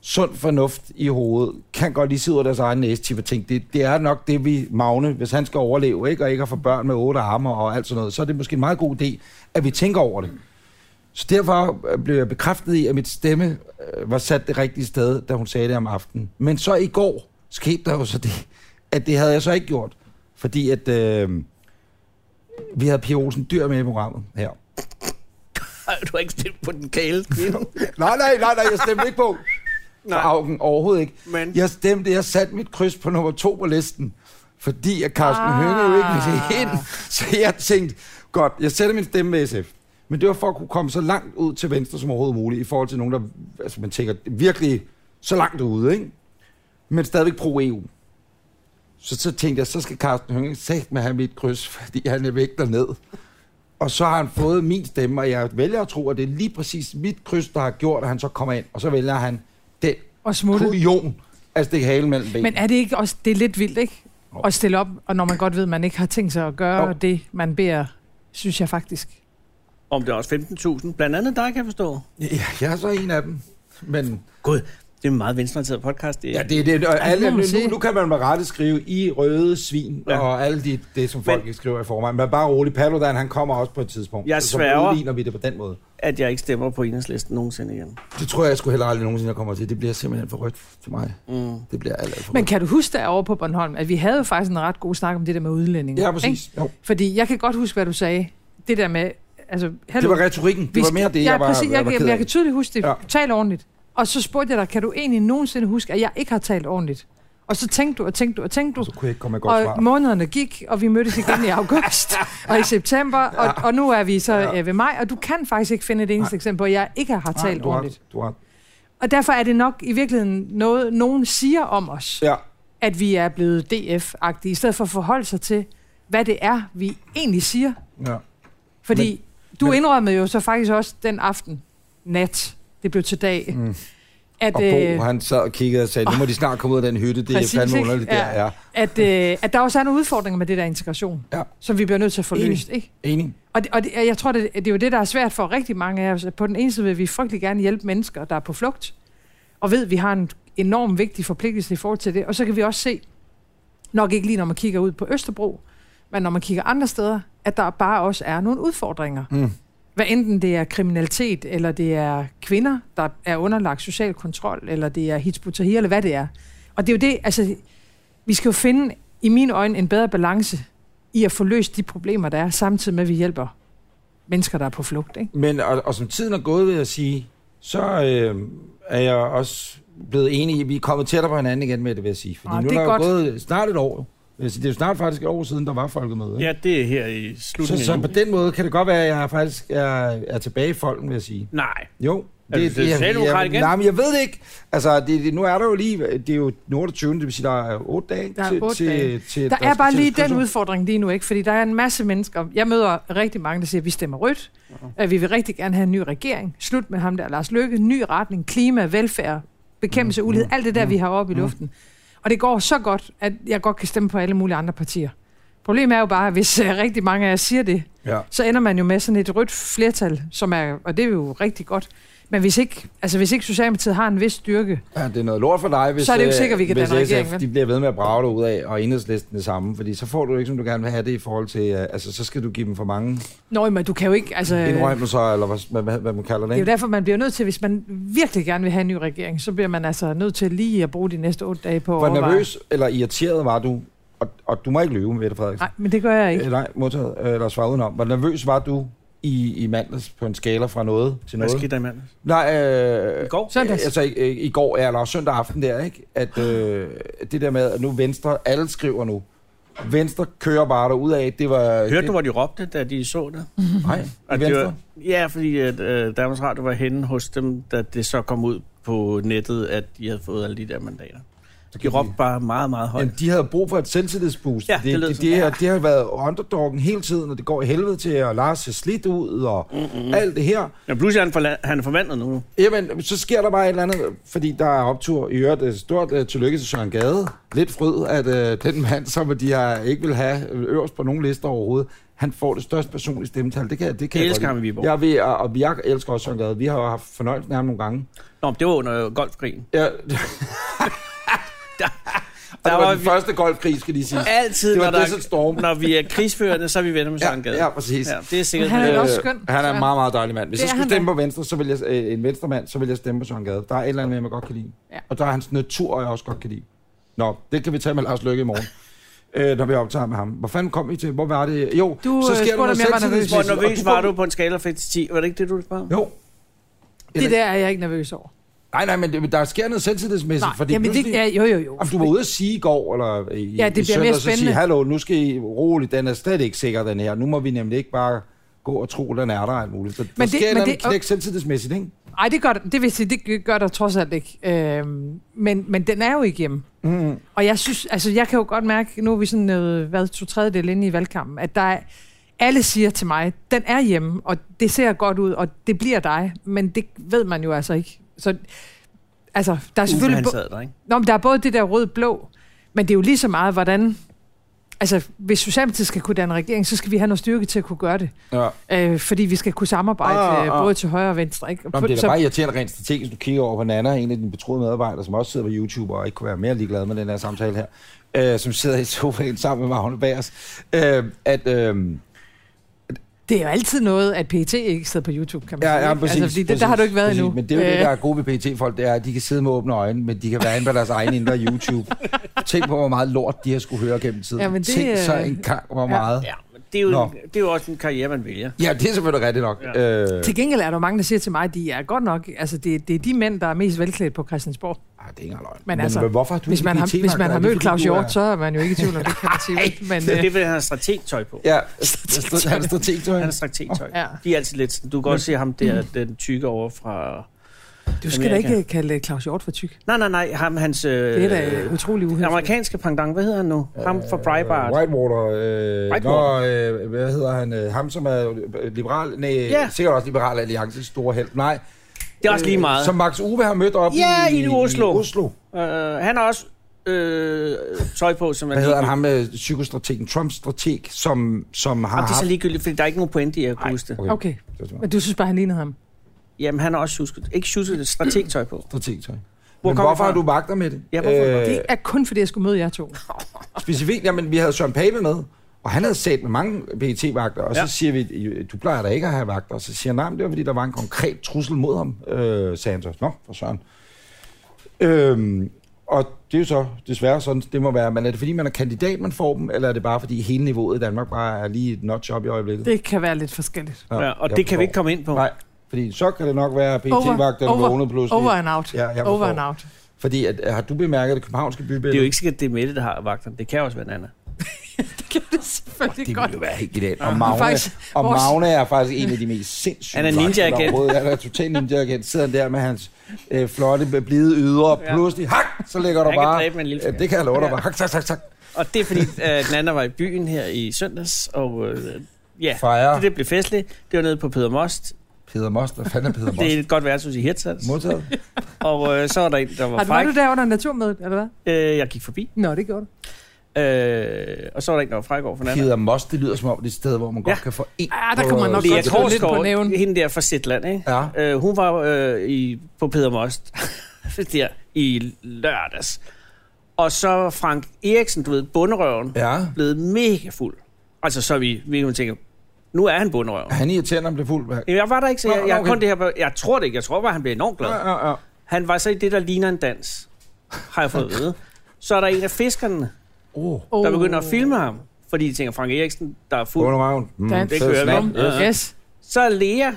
A: sund fornuft i hovedet, kan godt lige sidde over deres egen næstip og tænke, det, det er nok det, vi magne, hvis han skal overleve, ikke? og ikke at få børn med otte arme og alt sådan noget, så er det måske en meget god idé, at vi tænker over det. Så derfor øh, blev jeg bekræftet i, at mit stemme øh, var sat det rigtige sted, da hun sagde det om aftenen. Men så i går skete der jo så det, at det havde jeg så ikke gjort. Fordi at øh, vi havde Pia Olsen Dyr med i programmet her.
B: Ej, Du har ikke stemt på den kæle kvinde.
A: Nej, nej, nej, nej, jeg stemte ikke på. Nej.
B: Nej.
A: Augen, overhovedet ikke.
B: Men-
A: Jeg stemte, jeg satte mit kryds på nummer to på listen, fordi at Carsten ah.
C: Ah.
A: Hønge jo ikke ville ind. Så jeg tænkte, godt, jeg sætter min stemme med SF. Men det var for at kunne komme så langt ud til venstre som overhovedet muligt, i forhold til nogen, der altså, man tænker virkelig så langt ude, ikke? Men stadigvæk pro-EU. Så, så tænkte jeg, så skal Carsten Hønge sagt med have mit kryds, fordi han er væk derned. Og så har han fået min stemme, og jeg vælger at tro, at det er lige præcis mit kryds, der har gjort, at han så kommer ind. Og så vælger han den
C: Og smutte.
A: kujon at stikke halen mellem benene.
C: Men er det ikke også, det er lidt vildt, ikke?
A: Jo.
C: At stille op, og når man godt ved, at man ikke har tænkt sig at gøre
A: Jo.
C: det, man beder, synes jeg faktisk.
B: Om det er også 15.000. Blandt andet dig, kan jeg forstå.
A: Ja, jeg er så en af dem. Men
B: Gud, Det er en meget venstreorienteret podcast. Det er.
A: Ja, det er det. Og alle,
C: må man
A: nu,
C: sige.
A: nu kan man med rette skrive i røde svin ja.
B: Ja.
A: og alt det, det, som folk
B: Men-
A: ikke skriver i forvejen. Men bare rolig, Paludan, han kommer også på et tidspunkt.
B: Jeg
A: Så
B: sværger.
A: udligner vi det på den måde.
B: At jeg ikke stemmer på enhedslisten nogensinde igen.
A: Det tror jeg, jeg skulle heller aldrig nogensinde jeg kommer til. Det bliver simpelthen for rødt for mig.
B: Mm.
A: Det bliver alt, alt for
C: Men
A: rødt.
C: kan du huske derovre på Bornholm, at vi havde jo faktisk en ret god snak om det der med udlændinge?
A: Ja, præcis. Jo.
C: Fordi jeg kan godt huske, hvad du sagde. Det der med, altså...
A: Det
C: Hello,
A: var retorikken. Det var mere det,
C: ja,
A: jeg var,
C: præcis, jeg,
A: var
C: jeg,
A: ked
C: jeg,
A: af.
C: kan tydeligt huske det.
A: Ja.
C: Ja. Tal ordentligt. Og så spurgte jeg dig, kan du egentlig nogensinde huske, at jeg ikke har talt ordentligt? Og så tænkte du, og tænkte du, og tænkte du.
A: Og Så kunne jeg ikke komme med et godt svar.
C: Og månederne gik, og vi mødtes igen i august og i september, og, og nu er vi så
A: Ja.
C: ja. ved maj, og du kan faktisk ikke finde et eneste
A: Nej.
C: eksempel, hvor jeg ikke har
A: Nej,
C: talt
A: du har-
C: ordentligt.
A: Du har,
C: Og derfor er det nok i virkeligheden noget, nogen siger om os,
A: ja,
C: at vi er blevet DF-agtige, i stedet for at forholde sig til, hvad det er, vi egentlig siger.
A: ja.
C: Fordi men, du
A: men-
C: men, indrømmede jo så faktisk også den aften, nat, det blev til dag,
A: Mm.
C: mm. at, øh,
A: Og Bo, han sad og kiggede og sagde, nu må de snart komme ud af den hytte. Det
C: Præcis,
A: er fandme
C: ikke?
A: underligt, der.
C: Ja.
A: Ja.
C: at, øh, at der også er nogle udfordringer med det der integration,
A: Ja.
C: som vi bliver nødt til at få
A: Enig.
C: løst. Ikke?
A: Enig.
C: Og, det, og det, og jeg tror, det, det er jo det, der er svært for rigtig mange af os. At På den ene side vil vi frygtelig gerne hjælpe mennesker, der er på flugt, og ved, at vi har en enorm vigtig forpligtelse i forhold til det. Og så kan vi også se, nok ikke lige når man kigger ud på Østerbro, men når man kigger andre steder, at der bare også er nogle udfordringer.
A: Mm.
C: Hvad enten det er kriminalitet, eller det er kvinder, der er underlagt social kontrol, eller det er hitsbutahir, eller hvad det er. Og det er jo det, altså, vi skal jo finde, i mine øjne, en bedre balance i at få løst de problemer, der er, samtidig med, at vi hjælper mennesker, der er på flugt. Ikke?
A: Men, og, og som tiden er gået, vil jeg sige, så øh, er jeg også blevet enig i, at vi er kommet tættere på hinanden igen med det, vil jeg sige. Fordi
C: Ah,
A: nu
C: det er
A: der jo
C: godt.
A: gået snart et år. Vil jeg sige, Det er jo snart faktisk et år siden, der var folkemøde. ikke?
B: Ja, det er her i
A: så,
B: slutningen.
A: så
B: af
A: på
B: juni.
A: den måde kan det godt være, at jeg faktisk er, er tilbage i folken, vil jeg sige.
B: Nej.
A: Jo.
B: Er du socialdemokrat
A: jeg,
B: igen?
A: Nej, men jeg ved det ikke. Altså, det, det, nu er der jo lige, det er jo den 28, det vil sige, der er 8 dage
C: Der er
A: til,
C: otte
A: til,
C: dage.
A: til
C: Der er
A: skal
C: bare
A: til
C: lige den
A: diskussion.
C: udfordring lige nu, ikke? fordi der er en masse mennesker. Jeg møder rigtig mange, der siger, at vi stemmer rødt, at vi vil rigtig gerne have en ny regering. Slut med ham der, Lars Løkke. Ny retning, klima, velfærd,
A: Mm,
C: bekæmpelse af ulighed. Alt det der, vi har oppe i luften. Og det går så godt, at jeg godt kan stemme på alle mulige andre partier. Problemet er jo bare, at hvis øh, rigtig mange af jer siger det,
A: Ja.
C: så ender man jo med sådan et rødt flertal, som er, og det er jo rigtig godt. Men hvis ikke, altså hvis ikke Socialdemokratiet har en vis styrke,
A: Ja, det er noget lort for dig, hvis,
C: Så er det jo
A: øh,
C: sikkert, vi kan
A: hvis
C: danne
A: SF,
C: regering, vel?
A: de bliver ved med at brage dig ud af, og enhedslisten det samme, fordi så får du ikke, som du gerne vil have det i forhold til, øh, altså så skal du give dem for mange
C: Nå, men du kan jo ikke, altså...
A: indrømmelser, eller hvad, hvad, hvad, hvad man kalder det,
C: Det er jo
A: ikke?
C: derfor, man bliver nødt til, hvis man virkelig gerne vil have en ny regering, så bliver man altså nødt til lige at bruge de næste otte dage på at
A: Hvor
C: overveje.
A: nervøs eller irriteret var du, og, og du må ikke løbe, Mette Frederiksen.
C: Nej, men det gør jeg ikke.
A: Øh, Nej, modtaget, øh, eller svaret udenom. Hvor nervøs var du i, i mandags på en skala fra noget til
B: Hvad
A: noget?
B: skete der i mandags?
A: Nej, øh,
B: I går?
C: Søndags.
A: Altså i, i i går, ja, eller søndag aften der, ikke? At øh, det der med, at nu Venstre, alle skriver nu, Venstre kører bare ud af. Det var...
B: Hørte
A: det,
B: du, hvor de råbte, da de så det?
A: Nej,
B: Og
A: i
B: det
A: Venstre.
B: var, ja, fordi at, øh, Danmarks Radio var henne hos dem, da det så kom ud på nettet, at de havde fået alle de der mandater.
A: Så
B: De råbte bare meget, meget højt.
A: Jamen, de havde brug for et selvtillidsboost.
B: Ja, det
A: det,
B: lød
A: det,
B: sådan.
A: det, her, det har været underdoggen hele tiden, og det går i helvede til, og Lars ser slidt ud, og mm-hmm. alt det her.
B: Men pludselig er han, forla- han er forvandlet nu.
A: Jamen, så sker der bare et eller andet, fordi der er optur. I øvrigt, øh, stort øh, tillykke til Søren Gade. Lidt fryd, at øh, den mand, som de har, ikke vil have øverst på nogen lister overhovedet, han får det største personlige stemmetal. Det kan, det kan
B: Jeg
A: godt
B: elsker
A: lide.
B: ham i Viborg.
A: Jeg ved, og, og jeg elsker også Søren Gade. Vi har jo haft fornøjelsen af ham nogle gange.
B: Nå, men det var under golfkrigen.
A: Ja, der,
B: Der
A: der var,
B: var
A: den
B: vi-
A: første golfkrig, skal de sige.
B: Altid,
A: Det var
B: når, der,
A: Desert Storm.
B: når vi er krigsførende, så er vi venner med Søren Gade.
A: Ja, ja, præcis.
B: Ja, det er sikkert.
C: Men han er
B: Øh,
C: også skøn,
A: Han er en
C: Søren.
A: meget, meget dejlig mand. Hvis
C: Det
A: jeg
C: er
A: skulle
C: han
A: stemme på Venstre, så vil jeg, øh, en venstremand, så vil jeg stemme på Søren Gade. Der er et eller andet, med, jeg godt kan lide.
C: Ja.
A: Og der er hans natur, jeg også godt kan lide. Nå, det kan vi tage med Lars Løkke i morgen. Øh, når vi optager med ham. Hvor fanden kom vi til? Hvor var det? Jo,
C: Du,
A: så
C: øh,
A: sker
C: spurgte,
A: der noget
C: om jeg var
A: selvtillidsmæssigt,
B: Hvor
A: og
B: nervøs
A: du
B: var
A: får-
B: du på en skala fra 1 til 10? Var det ikke det, du spurgte mig?
A: Jo.
C: Det der er jeg ikke nervøs over.
A: Nej, nej, men det- der sker noget selvtillidsmæssigt,
C: Nej,
A: fordi
C: jamen det,
A: pludselig...
C: ja, jo, jo, jo.
A: Om du var ude at sige i går, eller i,
C: Ja, det
A: i
C: bliver mere
A: så sige,
C: spændende.
A: hallo, nu skal I roligt, den er slet ikke sikker, den her. Nu må vi nemlig ikke bare gå og tro, den er der og alt muligt. Så der
C: det-
A: sker et
C: men
A: eller andet
C: det- og-
A: knæk selvtillidsmæssigt, ikke?
C: Ej, det gør, det, vil sige, det gør der trods alt ikke. Øhm, men, men den er jo ikke hjemme.
A: Mm.
C: Og jeg synes, altså jeg kan jo godt mærke, nu er vi sådan noget, hvad, to tredjedel inde i valgkampen, at der er, alle siger til mig, den er hjemme, og det ser godt ud, og det bliver dig, men det ved man jo altså ikke. Så, altså, der er
B: Uffe,
C: selvfølgelig...
B: han
C: bo-
B: sad der, ikke?
C: Nå, men der er både det der rød-blå, men det er jo lige så meget, hvordan altså, hvis Socialdemokratiet skal kunne danne regering, så skal vi have noget styrke til at kunne gøre det.
A: Ja.
C: Øh, fordi vi skal kunne samarbejde
A: Ah,
C: ah,
A: ah.
C: ah. både til højre og venstre. Ikke? Og
A: Nå, men
C: på-
A: det er da
C: så-
A: bare irriterende rent strategisk, du kigger over på Nana, en af dine betroede medarbejdere, som også sidder på YouTube og ikke kunne være mere ligeglad med den her samtale her, øh, som sidder i sofaen sammen med Magne Bagers, øh, at... Øh,
C: Det er jo altid noget, at PET ikke sidder på YouTube, kan man
A: Ja,
C: sige.
A: ja,
C: ikke?
A: præcis.
C: altså, fordi det,
A: præcis,
C: der har du ikke været
A: præcis.
C: endnu.
A: Men det er jo det,
C: Øh,
A: der er gode ved pt folk det er, at de kan sidde med åbne øjne, men de kan være inde på deres egen indre YouTube. Tænk på, hvor meget lort de har skulle høre gennem tiden.
C: Ja, men det,
A: Tænk så
C: øh,
A: en gang, hvor
C: ja.
A: meget... Ja,
B: Ja, men det er, jo
A: Nå.
B: en, det er jo også en karriere, man vælger.
A: ja det er selvfølgelig rigtigt nok.
B: Ja.
A: Ja. Øh,
C: Til gengæld er der jo mange, der siger til mig, at de er godt nok... Altså, det, det er de mænd, der er mest velklædt på Christiansborg.
A: ah, det er ikke engang løgn.
C: Men altså,
A: hvorfor har du
C: Hvis
A: ikke
C: man har,
A: PET-magt?
C: hvis man
A: Er
C: har
A: det,
C: mødt
A: fordi
C: Claus
A: du er-
C: Hjort, så er man jo ikke i tvivl om det, kan man sige. vel? Men,
B: Det er
C: øh,
B: det, fordi han har strategtøj på.
A: Ja, st- han er strategtøj.
B: Han har strategtøj.
C: ja. Mm.
B: De er altid lidt... Du kan også se ham der, den tykke over fra...
C: Du skal da
B: Amerika.
C: ikke
A: øh,
C: kalde Claus Hjort for tyk.
B: Nej, nej, nej. Ham, hans... Øh,
C: Det er da Øh, utrolig uhøfligt.
B: amerikanske pendant. Hvad hedder han nu? Ham fra Breitbart.
A: Whitewater. Øh,
B: Whitewater.
A: Nå, øh, hvad hedder han? Øh, ham, som er øh, liberal... Nej,
B: Ja.
A: sikkert også liberal alliances store held. Nej. øh,
B: Det er også lige meget.
A: Som Max Uwe har mødt op
B: Ja,
A: i,
B: i Oslo.
A: I Oslo.
B: Øh, han har også øh, tøj på, som er
A: Hvad hedder han
B: ligegyldigt.
A: ham med psykostrategen? Trumps strateg, som, som har
B: Og det er så
A: haft-
B: ligegyldigt, fordi der er ikke nogen pointe i at kunne huske det.
C: Okay,
A: Det var smart.
C: men du synes bare, han lignede ham.
B: Jamen, han har også tjusket. Ikke tjusket, det er strategtøj på.
A: Strategtøj.
B: Hvor
A: Men
B: kommer
A: hvorfor
B: det
A: har
B: fra?
A: du magter med det? Øh,
B: Ja, hvorfor?
C: Det er kun fordi, jeg skulle møde jer to.
A: specifikt, jamen, vi havde Søren Pape med, og han havde sat med mange pet vagter og ja.
B: Ja.
A: så siger vi, du plejer da ikke at have vagter, og så siger han, nej, men det var fordi, der var en konkret trussel mod ham, øh, sagde han så. Nå, for Søren. Øhm, og det er jo så desværre sådan, det må være, men er det fordi, man er kandidat, man får dem, eller er det bare fordi hele niveauet i Danmark bare er lige et notch op i øjeblikket?
C: Det kan være lidt forskelligt.
B: Ja, og
A: jeg
B: det kan vi
A: forstår.
B: ikke komme ind på.
A: Nej, fordi så kan det nok være, at PT-vagterne vågnede
C: over,
A: pludselig.
C: over and out.
A: Ja, jeg forstår.
C: over and out.
A: Fordi at, har du bemærket det københavnske bybillede?
B: Det er jo ikke sikkert, det er Mette, der har vagterne. Det kan også være Nana.
C: Det kan det selvfølgelig
A: det
C: godt.
A: ville jo være helt genialt. Og Magne,
C: faktisk,
A: og
C: vores-
A: Magne er faktisk en af de mest sindssyge
B: Han er
A: vagter
B: ninja-agent.
A: overhovedet. Han er total ninja-agent. Sidder han der med hans øh, flotte, blide ydre, og
B: Ja.
A: pludselig, hak, så ligger du
B: Han kan
A: bare...
B: dræbe med en lille
A: Ja,
B: finger.
A: det kan jeg love dig
B: Ja.
A: bare. Hak, tak, tak, tak.
B: Og det er fordi, at Nana var i byen her i søndags, og øh, ja,
A: Fejre
B: det, det blev festligt. Det var nede på Peder Most.
A: Peder Most. Hvad fanden er Peder
B: Det er
A: Most?
B: et godt værtshus i Hirtshals.
A: Modtaget.
B: Og øh, så var der en, der var
C: Har du, var
B: fræk.
C: du der under naturmødet, eller hvad?
B: Øh, jeg gik forbi.
C: Nå, det gjorde du.
B: Øh, og så var der en, der var fræk over for Nana.
A: Peder Most, det lyder som om det er et sted, hvor man godt
B: Ja.
A: kan få en...
C: Ah, der kommer han nok
B: Lea
C: godt slå lidt på
B: Korsgaard,
C: næven.
B: hende der fra Zetland, ikke?
A: Ja.
B: Øh, hun var øh, i, på Peder Most der, i lørdags. Og så var Frank Eriksen, du ved, bunderøven, ja.
A: Ja.
B: blevet mega fuld. Altså, så vi, vi hun tænker, nu er han bunderøven.
A: Han irriterer, når han bliver fuld. hver-
B: Jamen, Jeg var der ikke, så jeg,
A: Nå,
B: jeg,
A: okay.
B: kun det her, jeg tror det ikke. Jeg tror bare, han blev enormt glad.
A: Ja, ja, ja.
B: Han var så i det, der ligner en dans, har jeg fået at vide. Så er der en af fiskerne,
A: Oh,
C: Oh.
B: der begynder at filme ham, fordi de tænker, Frank Eriksen, der er fuld.
A: under røven. Mm,
C: Dan-
A: fed
B: Det kører vi
A: snack.
B: om.
A: Yes.
B: Ja.
C: Yes.
B: Så er Lea,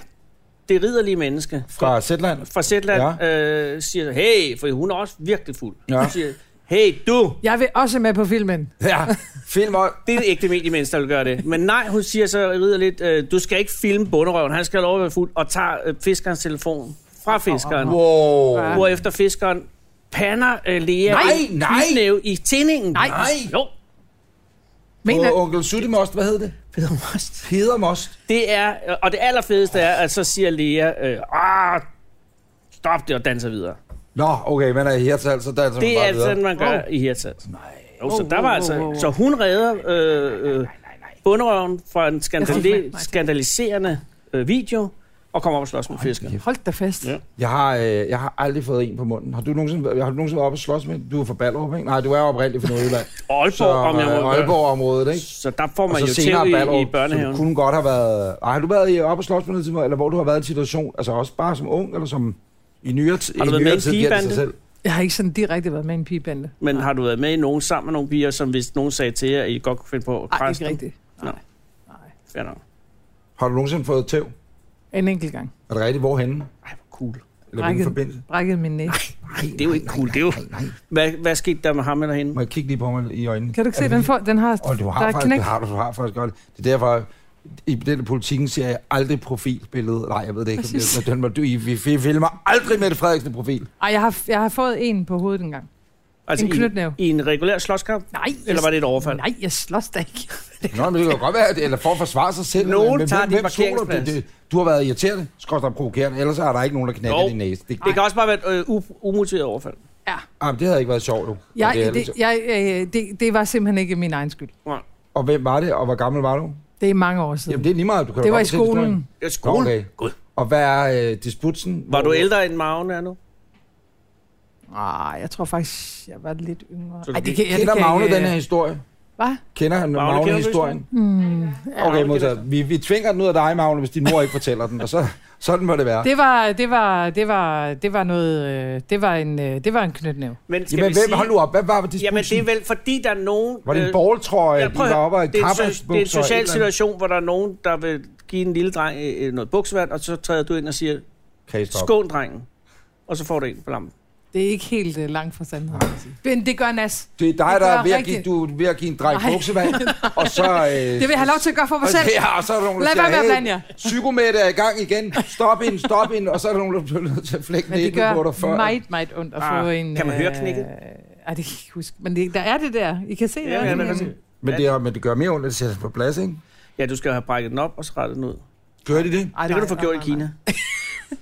B: det ridderlige menneske,
A: Fra Zetland.
B: fra Zetland ja. øh, siger, hey, for hun er også virkelig fuld.
A: Ja.
B: Ja. Hun siger, hey du,
C: Jeg vil også med på filmen.
A: Ja, film også.
B: det er ægte mediemenneske, der vil gøre det. Men nej, hun siger så rider lidt, øh, du skal ikke filme bunderøven, han skal have lov at være fuld, og tager øh, fiskerens telefon fra fiskeren. Wow.
A: Wow.
C: Ja.
B: Hvorefter fiskeren pander øh, Lea
A: Nej,
B: i,
A: nej.
B: knytnæve i tændingen.
C: Nej.
B: Jo,
C: Mener,
A: Og onkel Sutti Most, hvad hed det?
B: Peter Most.
A: Peder Most.
B: Det er, og det allerfedeste er, at så siger Lea, øh, ah, stop det og danser videre.
A: Nå, okay, øh, man er i hertal, så danser man
B: Det er
A: bare
B: altså
A: videre.
B: sådan, man gør
C: Wow.
B: i Hirtshals. Nej. Jo, så
C: Wow,
B: der var
C: wow,
B: altså...
C: wow, wow.
B: Så hun redder øh, øh, bunderøven fra en
C: Jeg fik mig-
B: skandale,
C: nej.
B: skandaliserende øh, video, og kommer op og slås med fiskerne.
C: hold da fast.
B: Ja.
A: Jeg har, øh, jeg har aldrig fået en på munden. Har du nogensinde, har du nogensinde været oppe og slås med? Du er fra Ballerup, ikke? Nej, du er oprindeligt fra Nordjylland. Så
B: Aalborg, om jeg må
A: Aalborg-området, ikke?
B: Så der får
A: Og
B: man
A: så
B: jo
A: senere
B: til i, i
A: Ballerup, så du
B: børnehaven.
A: kunne godt have været... Ej, har du været i- oppe og slås med noget tidspunkt, eller hvor du har været i en situation, altså også bare som ung, eller som i nyere, t-
B: Har du
A: i
B: været
A: nyere
B: med i en
A: tid, giver det sig
B: pigebande?
A: selv?
C: Jeg har ikke sådan direkte været med i en pigebande.
B: Men har du været med i nogen sammen med nogle piger, som hvis nogen sagde til jer, at I godt kunne finde på at
C: Nej,
B: krasse
C: ikke
B: dem?
C: rigtigt.
B: Nej.
C: Nej.
B: Ja, nok.
A: Har du nogensinde fået tæv?
C: En enkelt gang.
A: Er det rigtigt? Hvorhenne?
B: Ej, hvor cool.
A: Eller hvilken
C: Brækket.
A: forbindelse?
C: Brækkede min næse.
B: Det er jo ikke cool. Det er jo...
A: Nej, nej.
B: Hvad, hvad skete der med ham eller hende?
A: Må jeg kigge lige på mig i øjnene?
C: Kan du ikke se,
A: Er det
C: den, får, den har,
A: Og du
C: der
A: har,
C: er
A: faktisk,
C: knæk.
A: det har du, du har faktisk godt. Det er derfor, i den politikken ser jeg aldrig profilbillede. Nej, jeg ved det ikke. om
C: Præcis.
A: Det, men den, du, I, vi, vi filmer aldrig Mette Frederiksen i profil.
C: Ej, jeg har, jeg har fået en på hovedet engang.
B: Altså,
C: en knytnæve.
B: I, I en regulær slåskamp?
C: Nej, jeg-
B: Eller var det et overfald?
C: Nej, jeg slås da ikke.
A: Nå, men det kan jo godt være, at, eller for at forsvare sig selv.
B: Nogen
A: men, hvem-
B: tager din
A: hvem stoler du?
B: parkeringsplads.
A: Det- det- Du har været irriterende, skråt og provokerende, ellers er der ikke nogen, der knækker
B: Jo.
A: din næse. Det,
B: Det
A: det,
B: kan også bare være et øh, u- umotiveret overfald.
C: Ja.
A: ah, men det havde ikke været sjovt, du. Og
C: Jeg,
A: det er heller
C: det,
A: ikke sjovt.
C: jeg, øh, det, det var simpelthen ikke min egen skyld.
B: Nej.
A: Og hvem var det, og hvor gammel var du?
C: Det er mange år siden.
A: Jamen, det er lige meget, du kan
C: det
A: jo
C: var i
A: godt fortælle historien.
C: skolen.
B: Ja, skole.
A: Okay.
B: God.
A: Og hvad er øh, disputsen?
B: Var
A: Hvor-
B: du ældre end Magen er nu?
C: Ah, jeg tror faktisk, jeg var lidt yngre.
B: Så
C: Ej,
B: du
C: det kan, ja, det
A: Kender
C: kan
A: Magne
C: ikke, øh,
A: den her historie?
C: Hvad?
A: Kender han
B: Magne,
A: Magne,
B: kender du
A: historien?
C: Hmm.
A: Okay, modtaget. Vi, vi tvinger den ud af dig, Magne, hvis din mor ikke fortæller den, og så, sådan må det være.
C: Det var, det var, det var, det var noget, øh, det var en, øh, det var en knytnæv.
B: Men skal
A: Jamen,
B: vi
A: hvem,
B: sige...
A: hold nu op, hvad var disputsen?
B: Jamen, det er vel fordi, der er nogen...
A: Var det en
B: øh,
A: borgtrøje,
B: ja,
A: ja,
B: prøv
A: de var
B: at høre,
A: oppe af
B: det er, en so- det er en
A: kappesbukser?
B: social situation, hvor der er nogen, der vil give en lille dreng øh, noget buksevand, og så træder du ind og siger,
A: situation.
B: skån drengen. Og så får du en på lampen.
C: Det er ikke helt øh, langt fra sandheden. vil jeg sige. Men det gør Nas.
A: Det er dig,
C: Det
A: der er
C: var
A: ved at give,
C: rigtigt.
A: du, er ved at give en dreng
C: Nej.
A: buksevand, og så... Øh,
C: Det vil jeg have lov til at gøre for mig selv.
A: Og, ja, og så er der nogen, der
C: Lad være med at
A: siger,
C: blande jer.
A: psykomætte er i gang igen, stop ind, stop ind, og så er der nogen, der bliver nødt til at flække
C: Men det
A: næbben på dig
C: gør
A: før.
C: meget, meget ondt at få
B: Ah,
C: en...
B: kan man høre
C: øh,
B: knækket?
C: Ej, det kan jeg ikke huske. Men det, der er det der. I kan se det.
B: Ja,
C: er
B: ja,
C: det
B: men
C: der.
B: altså-
A: Men det, er, men det gør mere ondt, at det sætter sig på plads, ikke?
B: Ja, du skal have brækket den op og så rettet den ud.
A: Gør de det?
C: Ej,
B: Det kan
C: nej,
B: du få
C: nej,
B: gjort i
C: nej,
B: Kina.
C: nej.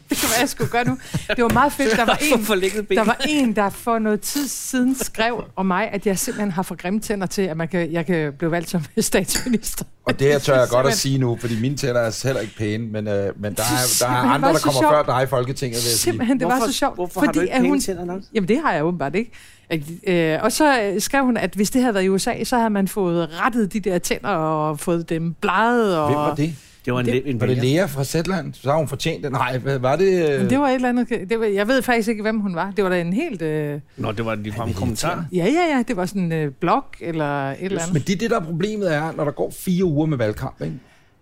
C: Det kan være, jeg skulle gøre nu. Det var meget fedt. Der var en,
B: forlænget ben.
C: der var en, der for noget tid siden skrev om mig, at jeg simpelthen har for grimme tænder til, at man kan, jeg kan blive valgt som statsminister.
A: Og det her tør jeg godt at
C: Simpelthen.
A: sige nu, fordi mine tænder er heller ikke pæne, men, øh, men der, er, der er
C: Simpelthen,
A: andre,
C: hvor
A: der
C: er så
A: kommer
C: sjovt.
A: før dig i Folketinget, vil jeg sige.
C: Simpelthen, det var
B: Hvorfor-
C: så sjovt.
B: Hvorfor har du ikke
C: at
B: pæne
C: hun-
B: tænder nok?
C: Jamen, det har jeg åbenbart ikke. At, øh, og så øh, skrev hun, at hvis det havde været i USA, så havde man fået rettet de der tænder og fået dem bleget. Og...
A: Hvem var det?
B: Det var en, det, en
A: Var det
B: vælger.
A: Lea fra Zetland? Så har hun fortjent det. Nej, hvad var det? øh,
C: Men det var et eller andet... Det var, jeg ved faktisk ikke, hvem hun var. Det var da en helt... Øh,
B: Nå, det var lige frem kommentar.
C: ja, ja, ja. Det var sådan en øh, blog eller et eller
A: Men
C: andet.
A: det er det, der er problemet er, når der går fire uger med valgkamp, ikke?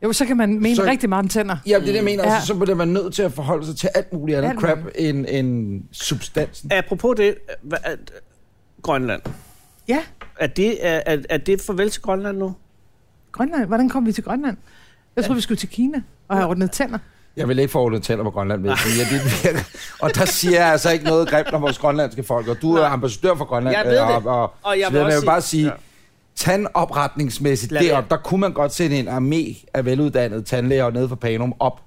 C: Jo, så kan man mene
A: Så-
C: så... rigtig meget om tænder.
A: Ja, det er det, jeg mener.
C: Mm. Ja.
A: Altså, så bliver man nødt til at forholde sig til alt muligt andet
C: Alt
A: crap
C: muligt.
A: end, end substansen.
B: Apropos det, hva- at, Grønland.
C: Ja,
B: Er det, er, er- er det farvel til Grønland nu?
C: Grønland. Hvordan kom vi til Grønland? Jeg troede, vi skulle til Kina og have ordnet tænder.
A: Jeg vil ikke forholde tænder på Grønland, vil jeg sige. Ja, det virker. Og der siger jeg altså ikke noget grimt om vores grønlandske folk. Og du er ambassadør for Grønland.
B: Jeg ved det.
A: øh, Og, og,
B: Og jeg
A: så
B: vil
A: vil
B: også
A: jeg vil bare sige,
B: sige-
A: ja. tandopretningsmæssigt
B: Lad være.
A: deroppe, der kunne man godt sætte en armé af veluddannede tandlæger nede fra Panum op.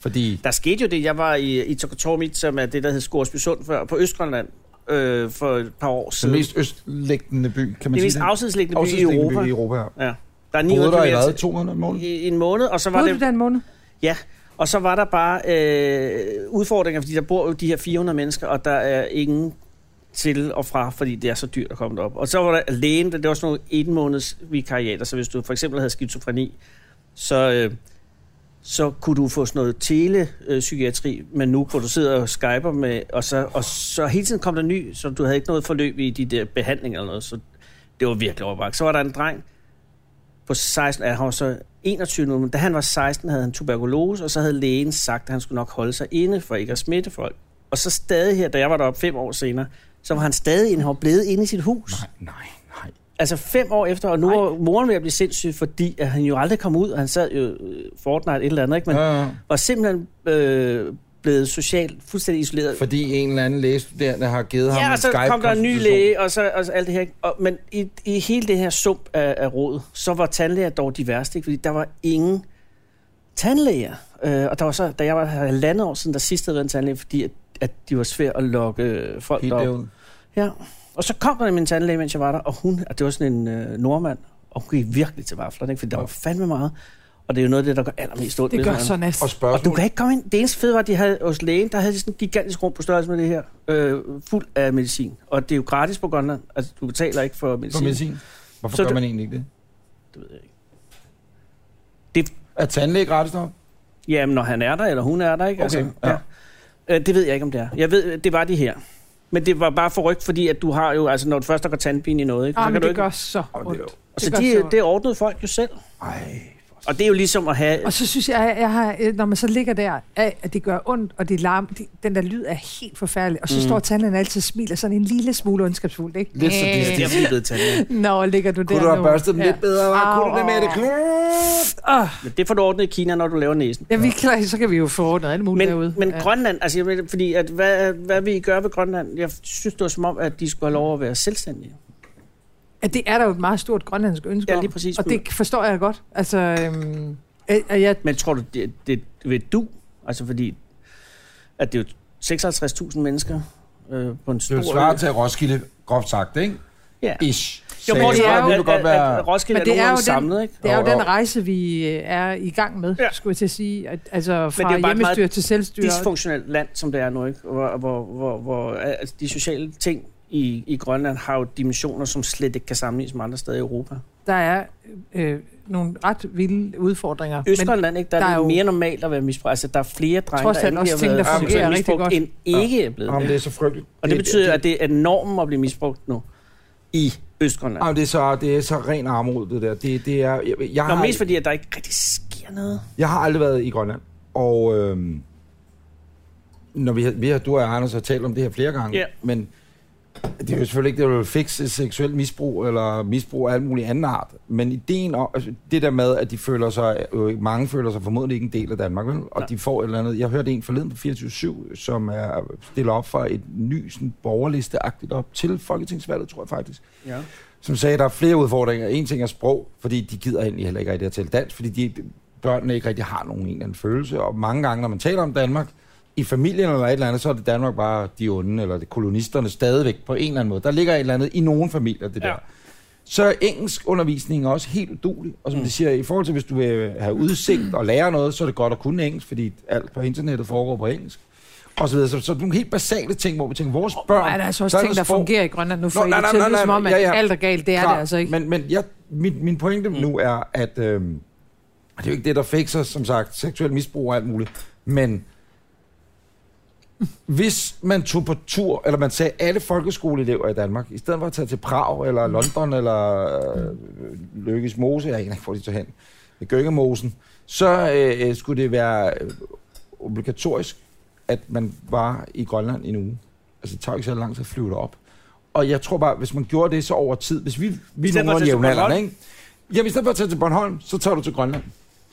A: Fordi
B: Der skete jo det, jeg var i, i Tokotormit, som er det, der hed Skorsby Sund før, på Østgrønland øh, for et par år
A: den
B: siden.
A: mest østlæggende by, kan man
B: det
A: sige
B: mest afsidesliggende by i
A: Afsidesliggende
B: Europa.
A: by i Europa.
B: Ja. Der er
A: Boede
B: 900
A: der i hvad?
B: km
A: 200 mål?
B: i, i en måned, og så var
C: Både du
B: det,
C: den måned?
B: ja, og så var der bare øh, udfordringer, fordi der bor jo de her 400 mennesker, og der er ingen til og fra, fordi det er så dyrt at komme derop. Og så var der lægen, der- det var sådan nogle en måneds vikariater, så hvis du for eksempel havde skizofreni, så, øh, så kunne du få sådan noget telepsykiatri, men nu, hvor du sidder og skyper med, og så, og så hele tiden kom der ny, så du havde ikke noget forløb i de der behandlinger eller noget, så det var virkelig overbragt. Så var der en dreng på 16, ja, han var så 21 nu, men da han var 16, havde han tuberkulose, og så havde lægen sagt, at han skulle nok holde sig inde for ikke at smitte folk. Og så stadig her, da jeg var deroppe fem år senere, så var han stadig inde, han var blevet inde i sit hus.
A: Nej, nej, nej.
B: Altså fem år efter, og nu er moren ved at blive sindssyg, fordi at han jo aldrig kom ud, og han sad jo øh, Fortnite et eller andet, ikke? Men, ja.
A: Ja, ja.
B: var simpelthen øh, blevet socialt fuldstændig isoleret.
A: Fordi en eller anden lægestuderende har givet ham
B: Ja,
A: en
B: og så
A: Skype
B: kom der en ny
A: konsultation.
B: læge, og så og så alt det her. ikke? Og, men i, i hele det her sump af, af råd, så var tandlæger dog de værste, ikke? fordi der var ingen tandlæger. Øh, og der var så, da jeg var halvandet år siden, der sidst havde været en tandlæge, fordi at, at de var svært at lokke øh, folk
A: Helt
B: derop.
A: derud.
B: Ja, og så kom der min tandlæge, mens jeg var der, og hun, og det var sådan en øh, nordmand, og hun gik virkelig til vaflerne, ikke? fordi der var fandme meget. Og det er jo noget af det, der gør allermest ondt.
C: Det
B: ved
C: gør
B: sådan en-
C: så Ah, næst.
A: Og
B: og du
A: spørgsmål.
B: kan ikke komme ind. Det eneste fede var, at de havde hos lægen, der havde de sådan en gigantisk rum på størrelse med det her, øh, fuld af medicin. Og det er jo gratis på Grønland. Altså, du betaler ikke for medicin.
A: For medicin. Hvorfor
B: Så
A: så gør
B: du-
A: man egentlig ikke det?
B: Det ved jeg ikke.
A: Er tandlæge gratis nok?
B: Jamen, når han er der, eller hun er der, ikke? Altså,
A: Okay, ja.
B: Øh, det ved jeg ikke, om det er. Jeg ved, øh, det var de her. Men det var bare forrygt, fordi at du har jo, altså når du først der går tandpine i noget, ikke?
C: Ah,
B: kan
C: men
B: du
C: det
B: ikke...
C: gør så
A: Åh, det er
C: ondt.
A: jo-
B: Så
C: gør så
B: de,
C: ondt.
B: det ordnede folk jo selv.
A: Ej.
B: Og det er jo ligesom at have...
C: Og så synes jeg, jeg har, øh, når man så ligger der, af, at det gør ondt, og det larm, de, den der lyd er helt forfærdelig. Og så mm. står tandlægen altid og smiler sådan en lille smule ondskabsfuldt, ikke? Øh,
A: Lidt så
B: Det er
A: distant.
B: derfor, de er blevet tandlæge.
C: Nå, ligger du der
A: Kunne du have
C: nu?
A: børstet den
C: Ja.
A: lidt bedre? hva'? Kunne du det med det?
C: Åh,
B: Men det får du ordnet i Kina, når du laver næsen.
C: ja, vi er klar, så kan vi jo få ordnet alt muligt
B: Men,
C: Uh, derude.
B: men
C: ja.
B: Grønland, altså jeg mener, fordi at hvad, hvad vi gør ved Grønland, jeg synes det var som om, at de skulle have lov at være selvstændige.
C: Ja, det er der jo et meget stort grønlandsk ønske
B: Ja,
C: om,
B: lige præcis.
C: Og det forstår jeg godt. Altså, øhm, øh, øh, jeg,
B: Men tror du, det, det ved du? Altså fordi, at det er jo 56.000 mennesker øh, på en
A: Det
B: stor...
A: svarer til Roskilde, groft sagt, ikke?
B: Ja.
A: Ish.
B: Jo,
A: sagde,
B: bortset
C: det er
B: fra,
C: jo-
B: at-
A: det kunne godt
B: at-
A: være-
B: at Roskilde
C: Men det
B: er
C: er jo
B: nogen
C: den-
B: samlet, ikke?
C: Det er jo
A: Jo, jo.
C: den rejse, vi øh, er i gang med,
B: Ja.
C: ja. skulle jeg til at sige. At- Altså
B: bare
C: fra
B: et meget
C: hjemmestyr til selvstyre.
B: dysfunktionelt land, som det er nu, ikke? Hvor, hvor, hvor, hvor altså, de sociale ting i, i Grønland har jo dimensioner, som slet ikke kan sammenlignes med andre steder i Europa.
C: Der er øh, nogle ret vilde udfordringer. Men
B: Østgrønland, ikke? Der,
C: der
B: er
C: er
B: det
C: jo-
B: mere normalt at være misbrugt. Altså, der er flere drenge,
C: Trods alt
B: der endelig
C: også
B: har
C: ting,
B: været
C: der
B: seksuelt
C: fungerer rigtig
B: misbrugt,
C: godt.
B: end ikke er blevet
A: Jamen,
B: det.
A: det er så frygteligt.
B: Og det betyder, at det er normen at blive misbrugt nu i Østgrønland.
A: Jamen, det er så, det er så ren armod, det der. Det, det er, jeg, jeg,
B: Nå,
A: har,
B: mest fordi, at der ikke rigtig sker noget.
A: jeg har aldrig været i Grønland, og øhm, når vi, har- vi har, du og jeg, Anders har talt om det her flere gange,
B: Ja.
A: men det er jo selvfølgelig ikke, det vil fikse seksuel misbrug, eller misbrug af alt muligt anden art, men ideen om, altså, det der med, at de føler sig, øh, mange føler sig formodentlig ikke en del af Danmark, vel? og
B: Nej.
A: de får et eller andet, jeg hørte en forleden på 24-7, som er stiller op for et ny sådan, borgerliste-agtigt op til folketingsvalget, tror jeg faktisk,
B: Ja.
A: som sagde, at der er flere udfordringer. En ting er sprog, fordi de gider egentlig heller ikke rigtig at tale dansk, fordi de, børnene ikke rigtig har nogen en eller anden følelse. Og mange gange, når man taler om Danmark, i familien eller et eller andet, så er det Danmark bare de onde, eller det kolonisterne stadigvæk på en eller anden måde. Der ligger et eller andet i nogen familier, det
B: Ja.
A: der. Så er engelsk undervisning også helt udulig, og som
B: Mm.
A: mm. de siger, i forhold til, hvis du vil have udsigt og lære noget, så er det godt at kunne engelsk, fordi alt på internettet foregår på engelsk. Og så, videre. så, så nogle helt basale ting, hvor vi tænker, vores børn...
C: Nej, der er altså også
A: er
C: ting,
A: noget
C: der
A: sprog.
C: fungerer i Grønland. Nu får
A: Nå,
C: I
A: nej,
C: det
A: nej,
C: til at
A: nej,
C: lyde
A: nej,
C: som om, at
A: ja, ja.
C: alt er galt. Det er
A: Klart,
C: det altså ikke.
A: Men, men jeg, min, min pointe mm. nu er, at øh, det er jo ikke det, der fikser, som sagt, seksuel misbrug og alt muligt, men hvis man tog på tur, eller man sagde alle folkeskoleelever i Danmark, i stedet for at tage til Prag, eller
C: Mm.
A: London, eller øh, Lykkes Mose, jeg aner ikke, hvor de tager hen, Gøngemosen, så øh, øh, skulle det være øh, obligatorisk, at man var i Grønland i en uge. Altså, det tager jo ikke så lang tid at flyve derop. Og jeg tror bare, hvis man gjorde det så over tid, hvis vi, vi
B: I
A: er
B: stedet for at tage
A: nogen
B: til
A: jævnaldrende,
B: Bornholm?
A: ikke? Jamen, i stedet for at tage til Bornholm, så tager du til Grønland.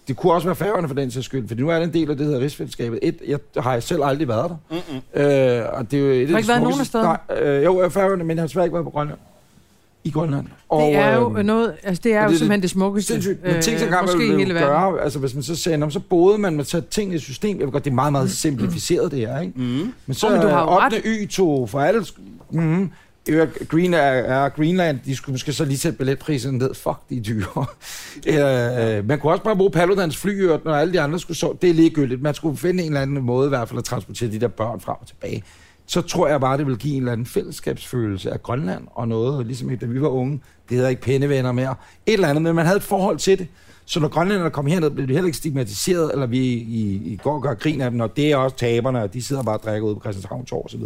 A: Det kunne også være færgerne for den sags skyld, for nu er det en del af det, der hedder rigsfællesskabet. Et, jeg har selv aldrig været der.
B: Mm-mm.
A: Øh, og det er jo et af
C: Har
A: de
C: ikke været nogen af
A: smukkeste-
C: stederne?
A: Nej, øh, jo, jeg er færgerne, men jeg har svært ikke været på Grønland. I Grønland.
C: Det er jo
A: øhm,
C: noget, altså det er
A: og
C: jo
A: det- det-
C: simpelthen det smukkeste,
A: Sindssygt. Men ting, som
C: øh,
A: gammel
C: måske i
A: ville
C: hele
A: jo
C: verden.
A: gøre, altså hvis man så sagde, "Nå, men så boede man med at sætte ting i et system. Jeg ved godt, det er meget, meget simplificeret det her, ikke?
B: Mm.
A: Men så
C: Åh, men du har jo
A: øh, 8. Y2 for alle... sk- Mhm. I øvrigt, Green er, er Greenland, de skulle måske så lige sætte billetpriserne ned. Fuck, de er dyre. øh, man kunne også bare bruge Paludans fly, når alle de andre skulle sove. Det er ligegyldigt. Man skulle finde en eller anden måde i hvert fald at transportere de der børn frem og tilbage. Så tror jeg bare, det vil give en eller anden fællesskabsfølelse af Grønland og noget, ligesom da vi var unge. Det hedder ikke pindevenner mere. Et eller andet, men man havde et forhold til det. Så når grønlænderne kom herned, blev de heller ikke stigmatiseret, eller vi i, i går gør grin af dem, og det er også taberne, og de sidder bare og drikker ude på Christianshavn Torv osv.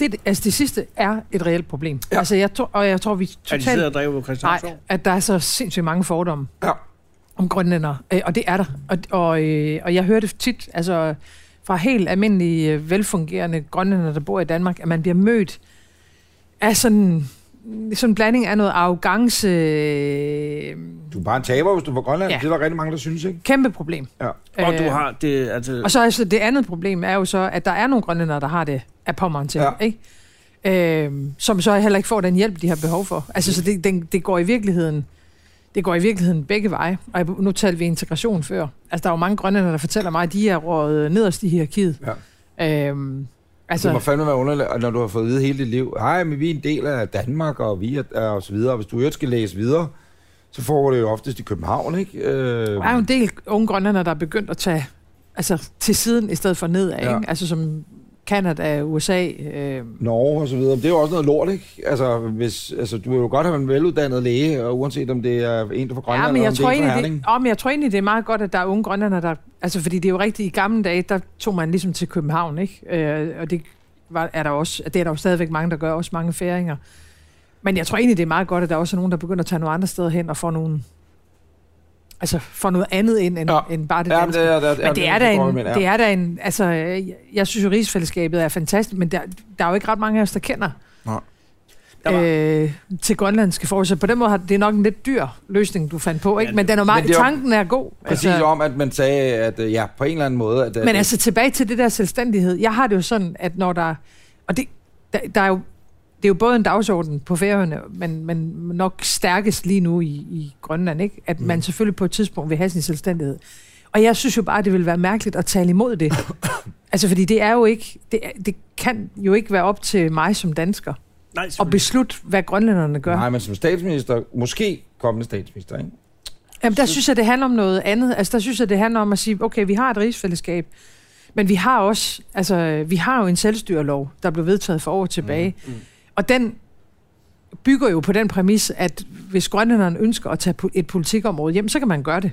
C: Det, altså det sidste er et reelt problem.
A: Ja.
C: Ja. Altså jeg tror, og jeg tror, vi
B: Er de sidder
C: totalt...
B: og driver på Christianshavn?
C: Nej, at der er så sindssygt mange fordomme
A: Ja.
C: om grønlændere, øh, og det er der. Og, og, øh, og jeg hører det tit, altså fra helt almindelige, øh, velfungerende grønlændere, der bor i Danmark, at man bliver mødt af sådan, sådan en blanding af noget arrogance... Øh,
A: Du er bare en taber, hvis du er fra Grønland. Ja.
C: Ja.
A: Det er der rigtig mange, der synes, ikke?
C: kæmpe problem.
A: Ja.
B: Og du
C: Øh,
B: har det, altså...
C: Og så altså, det andet problem er jo så, at der er nogle grønlændere, der har det af pommeren til,
A: Ja.
C: ja. ikke? Øhm, som så heller ikke får den hjælp, de har behov for. Altså, så det, den, det går i virkeligheden det går i virkeligheden begge veje. Og jeg, nu talte vi integration før. Altså, der er jo mange grønlændere, der fortæller mig, at de er røget nederst i hierarkiet. Ja. Øhm,
A: Altså, det må
C: altså,
A: fandme være underligt, og når du har fået at vide hele dit liv, hej, men vi er en del af Danmark, og vi er, er og så videre. Og hvis du i øvrigt skal læse videre, så foregår det jo oftest i København, ikke? Øh,
C: der er jo en del unge grønlændere, der er begyndt at tage altså, til siden i stedet for nedad,
A: Ja.
C: ja. ikke? Altså, som Kanada, USA... Øh,
A: Norge og så videre. Det er jo også noget lort, ikke? Altså, hvis, altså du vil jo godt have en veluddannet læge, og uanset om det er en, der er fra Grønland,
C: Ja, men
A: eller
C: jeg
A: om
C: tror,
A: det er en fra
C: egentlig,
A: Herning.
C: det, oh, men jeg tror egentlig, det er meget godt, at der er unge grønlændere, der... Altså, fordi det er jo rigtigt, i gamle dage, der tog man ligesom til København, ikke? Øh, og det, var, er der også, det er der jo stadigvæk mange, der gør, også mange færinger. Men jeg tror egentlig, det er meget godt, at der også er nogen, der begynder at tage nogle andre steder hen og får nogle... Altså, får noget andet ind, end,
A: Ja.
C: ja. end bare det
A: Ja,
C: danske.
A: men det er, der,
C: Men det er, da en, det er da en, altså, øh, jeg synes jo, rigsfællesskabet er fantastisk, men der, der er jo ikke ret mange af os, der kender
A: Nej.
B: Der
C: øh, til grønlandske forhold. Så på den måde har det er nok en lidt dyr løsning, du fandt på, ikke?
B: Ja,
C: Men, den er meget,
A: men det er jo-
C: tanken er god.
A: Præcis altså, om, at man sagde, at øh, ja, på en eller anden måde... At, øh,
C: Men altså tilbage til det der selvstændighed. Jeg har det jo sådan, at når der... Og det, der, der er jo, det er jo både en dagsorden på færøerne, men, men nok stærkest lige nu i, i Grønland, ikke? At man selvfølgelig på et tidspunkt vil have sin selvstændighed. Og jeg synes jo bare, at det vil være mærkeligt at tale imod det. altså, fordi det er jo ikke... Det, er, det kan jo ikke være op til mig som dansker
B: Nej,
C: og
B: selvfølgelig.
C: beslutte, hvad grønlænderne gør.
A: Nej, men som statsminister, måske kommende statsminister, ikke?
C: Jamen, der synes jeg, det handler om noget andet. Altså, der synes jeg, det handler om at sige, okay, vi har et rigsfællesskab, men vi har også, altså, vi har jo en selvstyrelov, der blev vedtaget for år tilbage. Mm, mm. Og den bygger jo på den præmis, at hvis grønlænderne ønsker at tage po- et politikområde hjem, så kan man gøre det.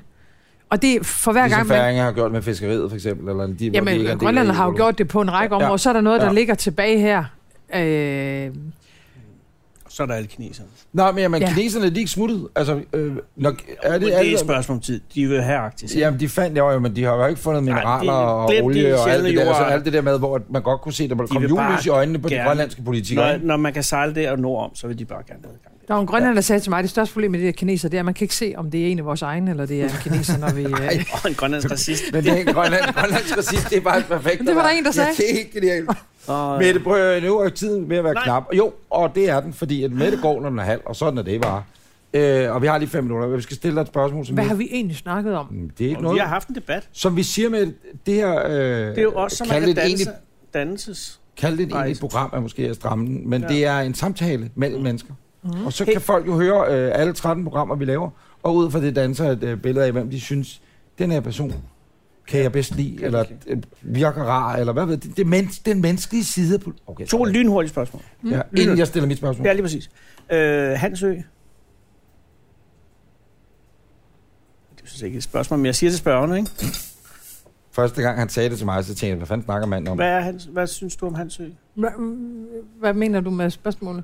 C: Og det er for hver
A: Ligesom
C: gang, man...
A: færinger har gjort med fiskeriet, for eksempel. Eller de, hvor de ikke er en
C: Jamen,
A: del
C: grønlænderne
A: af
C: har jo
A: EU.
C: gjort det på en række
A: Ja.
C: områder, så er der noget, der
A: Ja.
C: ligger tilbage her. Øh,
B: Så er der alle kineserne.
A: Nej, men jamen,
C: Ja.
A: ja. kineserne, de er ikke smuttet. Altså, øh, nok, er
B: Men
A: det,
B: det er
A: alle-
B: et spørgsmål om tid. De vil have Arktis. ikke?
A: Jamen, de fandt jo, jo, men de har jo ikke fundet
B: Nej,
A: mineraler
B: de-
A: og
B: glem de
A: olie og alt
B: sjældne
A: det, der, altså,
B: jordarter.
A: alt det der med, hvor at man godt kunne se, at der
B: De
A: kom
B: vil
A: julelys
B: bare
A: i øjnene på de
B: gerne-
A: grønlandske politikere.
B: Når,
A: ikke?
B: når man kan sejle der og nordom, så vil de bare gerne have adgang.
C: der var en grønlænder, der sagde til mig, at det største problem med de der kineser, det er, at man kan ikke se, om det er en af vores egne, eller det er en kineser, når vi... Øh,
B: Og en grønlandsk racist.
A: Men det er Grønland, Grønlandsk racist, det er bare et perfekt.
C: Men det var der en, der sagde.
A: Ja, det er helt genialt.
B: Og, øh.
A: Mette, prøv at- nu er tiden ved at være
B: Nej.
A: knap. Jo, og det er den, fordi at Mette går, når den er halv, og sådan er det bare. Øh, og vi har lige fem minutter. Vi skal stille dig et spørgsmål, som
C: Hvad
A: vi-
C: har vi egentlig snakket om?
A: Det er ikke
B: og
A: noget.
B: vi har haft en debat.
A: Som vi siger med det her... Øh,
B: Det er jo også, som man
A: kald
B: kan
A: det et
B: danse,
A: egentligt,
B: danses.
A: kalde det et
B: Nej.
A: egentligt program, er måske at stramme den, men
B: Ja.
A: ja. det er en samtale mellem mennesker. Mm. Og så
B: Hey.
A: kan folk jo høre øh, alle 13 programmer, vi laver, og ud fra det danser et øh, billede af, hvem de synes, den her person kan jeg bedst lide,
B: Kan
A: eller
B: jeg
A: øh, virker rar, eller hvad ved det, det er mens, den menneskelige side. af pol- Okay,
B: To
A: sorry.
B: lynhurtige spørgsmål.
A: Ja,
C: Mm.
A: inden jeg stiller mit spørgsmål.
B: Ja, lige præcis. Øh, Hansø. Det synes jeg ikke er et spørgsmål, men jeg siger til spørgerne, ikke?
A: Første gang han sagde det til mig, så tænkte jeg, hvad fanden snakker manden om?
B: Hvad, er Hans, hvad synes du om Hansø?
C: Hva- Hvad mener du med spørgsmålet?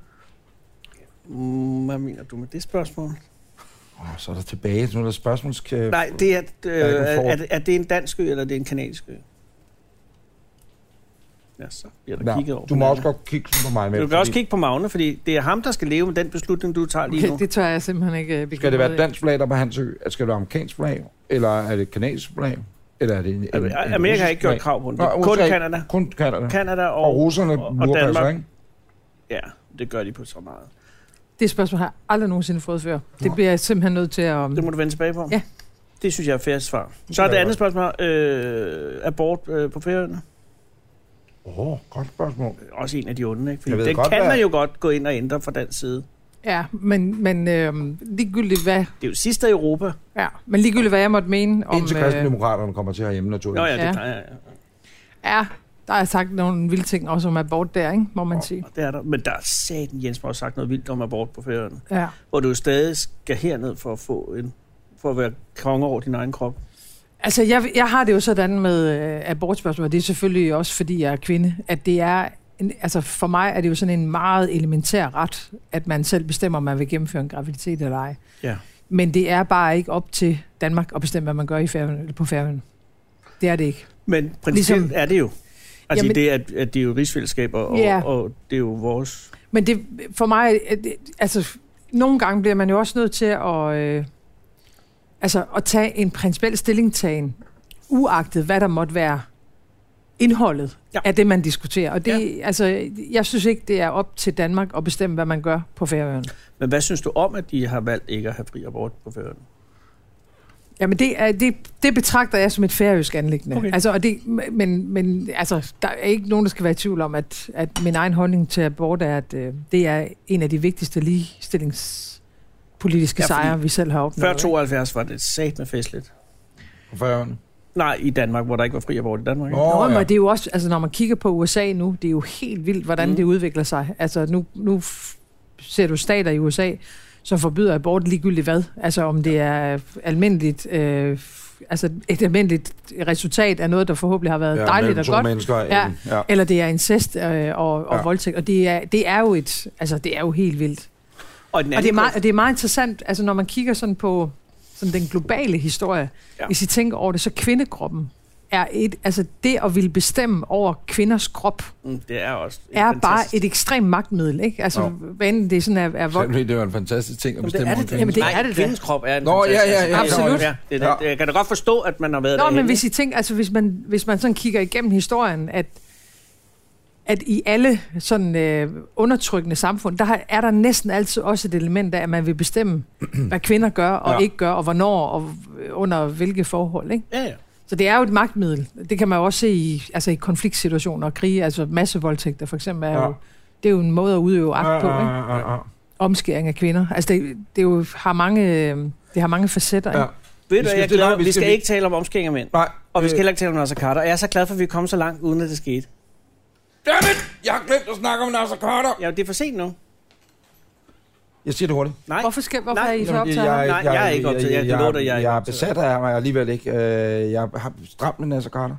B: Mm, hvad mener du med det spørgsmål?
A: Oh, så er der tilbage, så er der spørgsmåls... øh,
B: Nej, det er, øh,
A: er ikke en
B: er,
A: for-
B: er, det- er det en dansk ø, eller er det en kanadisk ø? Ja, så bliver der
A: Nå,
B: kigget over.
A: du
B: på
A: må
B: det.
A: også godt kigge sådan på mig med.
B: Du kan også kigge på Magne, fordi det er ham, der skal leve med den beslutning, du tager lige nu.
C: Okay, det tør jeg simpelthen ikke. øh, begive
A: Skal det
C: mig
A: være
C: ud i.
A: dansk flag, der er på hans ø? Skal det være amerikansk flag? Eller er det kanadisk flag? Eller er det en, en, en
B: Altså, Amerika har
A: russisk
B: ikke gjort
A: flag?
B: krav på den.
A: Nå,
B: Kun
A: USA.
B: Kanada.
A: Kun Kanada.
B: Kanada og,
A: Og russerne
B: og- og
A: lurer
B: Danmark.
A: sig, ikke?
B: Ja, det gør de på så meget.
C: Det spørgsmål har jeg aldrig nogensinde fået før. Det
A: Nå.
C: bliver jeg simpelthen nødt til at...
B: Det må du vende tilbage på.
C: Mm. Ja.
B: Det synes jeg er færre svar. Så
A: kan
B: er det
A: jeg
B: andet spørgsmål. Øh, abort øh, på færøerne.
A: Åh, oh, godt spørgsmål.
B: Også en af de onde, ikke? Fordi
A: Jeg ved
B: den
A: godt,
B: kan
A: hvad-
B: man jo godt gå ind og ændre fra den side.
C: Ja, men, men øh, ligegyldigt hvad...
B: Det er jo sidst i Europa.
C: Ja, men ligegyldigt hvad jeg måtte mene om... øh,
A: Indtil kristendemokraterne kommer til herhjemme, naturligvis.
B: Nå ja,
C: Ja.
B: det plejer jeg.
C: ja, der er sagt nogle vilde ting også om abort der, ikke? må man sige.
B: Og det er der. Men der er satan, Jens har sagt noget vildt om abort på færøerne.
C: Ja.
B: Hvor du jo stadig skal herned for at få en for at være konge over din egen krop.
C: Altså, jeg, jeg har det jo sådan med øh, abortspørgsmål, og det er selvfølgelig også, fordi jeg er kvinde, at det er... En, altså, for mig er det jo sådan en meget elementær ret, at man selv bestemmer, om man vil gennemføre en graviditet eller ej.
B: Ja.
C: Men det er bare ikke op til Danmark at bestemme, hvad man gør i færgen, eller på færgen. Det er det ikke.
B: Men principielt ligesom,
C: Ligesom-
B: er det jo. Altså
C: Jamen-
B: Jamen, det, at, at det er jo rigsfællesskab, og,
C: Ja.
B: og, og det er jo vores...
C: Men det, for mig, øh, det- altså, nogle gange bliver man jo også nødt til at, øh, altså, at tage en principiel stillingtagen, uagtet hvad der måtte være indholdet
B: Ja.
C: ja. af det, man diskuterer. Og det, ja. altså, jeg synes ikke, det er op til Danmark at bestemme, hvad man gør på færøerne.
B: Men hvad synes du om, at de har valgt ikke at have fri abort på færøerne?
C: Jamen det, er, det, det betragter jeg som et færøsk anlæggende.
B: Okay.
C: Okay. Altså, og det, men men altså, der er ikke nogen, der skal være i tvivl om, at, at min egen holdning til abort er, at øh, det er en af de vigtigste ligestillingspolitiske
B: Ja,
C: ja,
B: fordi
C: sejre, vi selv har opnået.
B: Før 72 var det sat med festligt.
A: På færøerne.
B: Nej, i Danmark, hvor der ikke var fri abort i Danmark.
A: Nå,
B: Ikke?
C: Nå,
A: ja.
C: men det er jo også, altså når man kigger på USA nu, det er jo helt vildt, hvordan
B: Mm.
C: mm. det udvikler sig. Altså nu, nu f- ser du stater i USA, som forbyder abort ligegyldigt hvad. Altså om det er almindeligt, øh, altså et almindeligt resultat af noget, der forhåbentlig har været ja, dejligt
A: mellem
C: og
A: to
C: godt.
A: mennesker.
C: Ja.
A: en- ja.
C: Eller det er incest øh, og, og
A: Ja.
C: ja. voldtægt, og det er, det er jo et, altså det er jo helt vildt.
B: Og, den
C: Og det, er
B: anden
C: meget, og det er meget interessant, altså når man kigger sådan på sådan den globale historie,
B: Ja.
C: ja. hvis I tænker over det, så kvindekroppen er et, altså det at ville bestemme over kvinders krop,
B: grund- Mm, det er også en
C: er bare
B: fantastisk-
C: et ekstremt magtmiddel, ikke? Altså,
A: Nå.
C: hvad enten det sådan er, er vold.
A: Selvfølgelig, det var en fantastisk ting at
B: Jamen, det
A: bestemme.
B: er
A: over
B: det,
A: en
B: da.
A: kvinde.
C: Jamen, det er det da.
B: kvindens krop er en
A: Nå, ja,
B: fantastisk-
A: ja, ja,
C: absolut.
B: Ja, det, er det,
A: Ja.
B: Jeg kan da godt forstå, at man har været
C: Nå,
B: derhenne,
C: men hvis
B: ikke?
C: I tænker, altså hvis man, hvis man sådan kigger igennem historien, at, at i alle sådan øh, undertrykkende samfund, der har- er der næsten altid også et element af, at man vil bestemme, hvad kvinder gør og
A: Ja.
C: ja. ikke gør, og hvornår og øh, under hvilke forhold, ikke?
B: Ja, ja.
C: Så det er jo et magtmiddel. Det kan man jo også se i, altså i konfliktsituationer og krige, altså massevoldtægter for eksempel er
A: Ja.
C: jo det er jo en måde at udøve agt på, ikke?
D: ja, ja, ja.
C: Omskæring af kvinder. Altså, det, det jo har mange, øh, det har mange facetter,
D: Ja.
C: ikke?
B: Ved
D: skal-
B: du, hvad, jeg
D: det er
B: glæder,
D: langt,
B: vi,
D: vi
B: vi skal,
D: skal-
B: ikke tale om omskæring af mænd.
D: Nej.
B: Og vi skal
D: øh,
B: heller ikke tale om Nasser Carter. Og jeg er så glad for, at vi er kommet så langt, uden at det skete.
A: Dammit! Jeg har glemt at snakke om Nasser Carter!
B: Ja, det er for sent nu.
A: Jeg siger det hurtigt.
B: Nej.
C: Hvorfor, skal, hvorfor
B: Nej,
C: er I så
D: jamen,
C: optaget af ham?
B: Nej, jeg er ikke optaget. Jeg kan love dig, jeg er
A: jeg,
B: ikke
A: jeg er
B: optaget.
A: besat af ham, og jeg er alligevel ikke. Øh, jeg har stramt med Nasser Carter.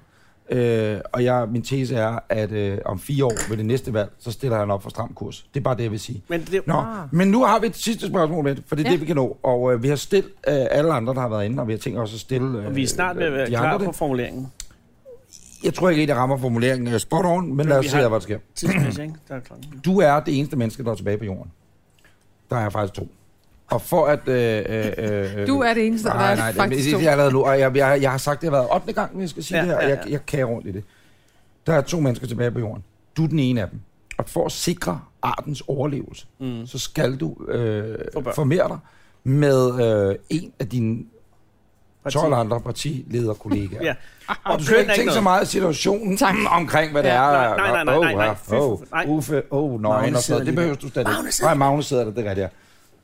A: Øh, og jeg, min tese er, at øh, om fire år ved det næste valg, så stiller han op for stram kurs. Det er bare det, jeg vil sige.
B: Men det,
A: Nå,
C: Ah.
A: ah. men nu har vi et sidste spørgsmål med, for det er
C: Ja.
A: ja. det, vi kan nå. Og øh, vi har stillet øh, alle andre, der har været inde, og vi har tænkt os at stille øh,
B: og vi er snart ved at være
A: de
B: klar
A: andre
B: på
A: det.
B: formuleringen.
A: Jeg tror ikke, at jeg rammer formuleringen øh, spot on, men, men lad os
B: vi
A: se,
B: har-
A: hvad der sker.
B: Tidsmæssigt, ikke? Der er klokken.
A: Du er det eneste menneske, der er tilbage på jorden. Der er jeg faktisk to. Og for at... Øh, øh, øh,
C: Du er det eneste, der
A: nej,
C: er
A: nej,
C: faktisk
A: det,
C: to.
A: det, jeg, har lavet, lo- og jeg, jeg, jeg har sagt, det har været 8. gang, jeg skal sige
B: Ja,
A: ja, det her,
B: ja,
A: og jeg,
B: ja.
A: jeg kan rundt i det. Der er to mennesker tilbage på jorden. Du er den ene af dem. Og for at sikre artens overlevelse,
B: Mm.
A: så skal du øh,
B: Få børn.
A: formere dig med øh, en af dine
B: Parti.
A: 12 andre partilederkollegaer.
B: Ja.
A: Og ah, du skal
B: køn
A: ikke
B: er
A: tænke så
B: noget.
A: meget omkring situationen omkring, hvad det
C: Ja.
A: er.
B: Nej, nej, nej, nej,
A: Åh,
B: nej, nej.
A: ja,
B: Fy for-
A: åh,
B: nej.
A: Uffe, åh, nøgen
B: Magne
A: og
B: sidder
A: sådan Det
B: lige
A: behøver du slet
B: Magne
A: ikke.
B: sidder
A: Nej, Magnus sidder der, det er rigtigt, ja.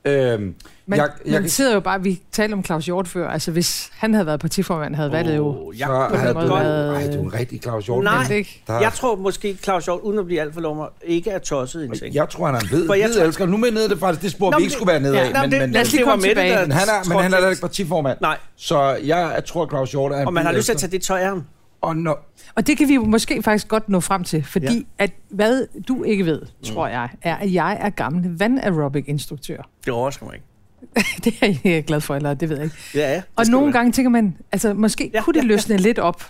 A: Øhm,
C: Man,
A: jeg,
C: jeg,
A: jeg
C: man
A: kan-
C: sidder jo bare, vi talte om Claus Hjort før, altså hvis han havde været partiformand, havde valget jo...
B: Åh,
A: så
B: jeg,
C: den
A: havde du...
C: måde været-
A: Ej, du er en rigtig Claus Hjort.
B: Nej.
A: men
C: Men det ikke.
A: Der,
B: jeg tror måske, Claus Hjort, uden at blive alt for lommer, ikke er tosset i en ting.
A: jeg tror, han er en ved,
B: For jeg
A: ved
B: tror-
A: elsker. Nu med nede det faktisk, det spor,
B: Nå,
A: vi
B: men
A: ikke
B: det-
A: skulle være nede af.
B: Ja, men,
A: men, men,
B: det, lad os lige
C: men-
B: komme med det,
C: tilbage.
B: der
A: men han er, men han er da
B: trådte
A: ikke partiformand.
B: Nej,
A: Så jeg, jeg tror, Claus Hjort er en
B: og man har
A: bid
B: lyst til at
A: elsker.
B: tage det tøj af ham.
A: Og når,
C: Og det kan vi jo måske faktisk godt nå frem til, fordi ja. at hvad du ikke ved,
B: Mm.
C: tror jeg, er, at jeg er gammel vanaerobic-instruktør.
B: Det overrasker mig ikke.
C: Det er jeg glad for, eller det ved jeg ikke.
B: Ja, ja.
C: Og nogle gange tænker man, altså måske
B: Ja,
C: ja, kunne det
B: ja,
C: ja,
B: ja.
C: løsne lidt op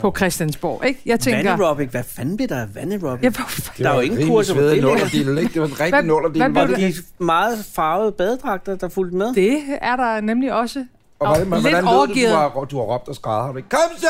C: på Christiansborg, ikke? Jeg tænker,
B: Vanaerobic, hvad fanden bliver der af vanaerobic?
C: ja, hvorfor-
B: Der er jo ingen kurser på det
A: det. var en
B: længere.
A: rigtig nullerdel, ikke? Det var en rigtig
C: Hvad- hvad
A: nullerdel.
C: blev
A: Var
B: Var
A: det
B: det de meget farvede badedragter, der fulgte med?
C: det er der nemlig også.
A: Og hvordan,
C: Lidt
A: hvordan lød det,
C: overgivet.
A: du har, du har råbt og skrædder? Har du ikke, Kom så!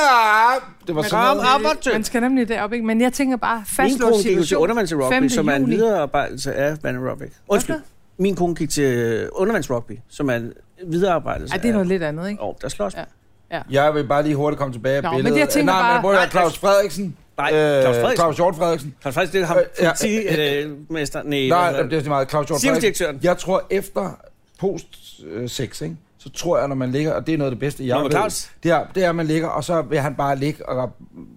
A: op!" Det var sådan noget.
B: Arbejde!
C: Man skal nemlig derop, ikke? Men jeg tænker bare,
B: Min kone gik
C: fastlås
B: jo til
C: situation.
B: undervandsrugby,
C: 5.
B: som er en
C: juni.
B: viderearbejdelse af vanaerobic. Undskyld. Min kone gik til undervandsrugby, som er en viderearbejdelse
C: Ja, det er noget lidt andet, ikke?
B: af... Oh, der slås.
C: Ja.
B: Ja.
A: Jeg vil bare lige hurtigt komme tilbage af
C: Nå, men
A: billedet.
C: jeg tænker
A: Nej,
C: bare-
A: men prøv at høre,
B: Nej,
A: Claus Frederiksen.
B: Nej, Claus
A: Øh,
B: Frederiksen.
A: Claus Hjort Frederiksen.
B: Claus Frederiksen, det er ham,
A: Øh, ja.
B: politimesteren. Nej,
A: Nej,
B: hvad hedder
A: det er så meget. Claus Hjort
B: Cirkusdirektøren.
A: Jeg tror, efter post 6, ikke? så tror jeg, når man ligger, og det er noget af det bedste, jeg
B: Nå, men
A: ved,
B: Claus.
A: det er, det er, at man ligger, og så vil han bare ligge og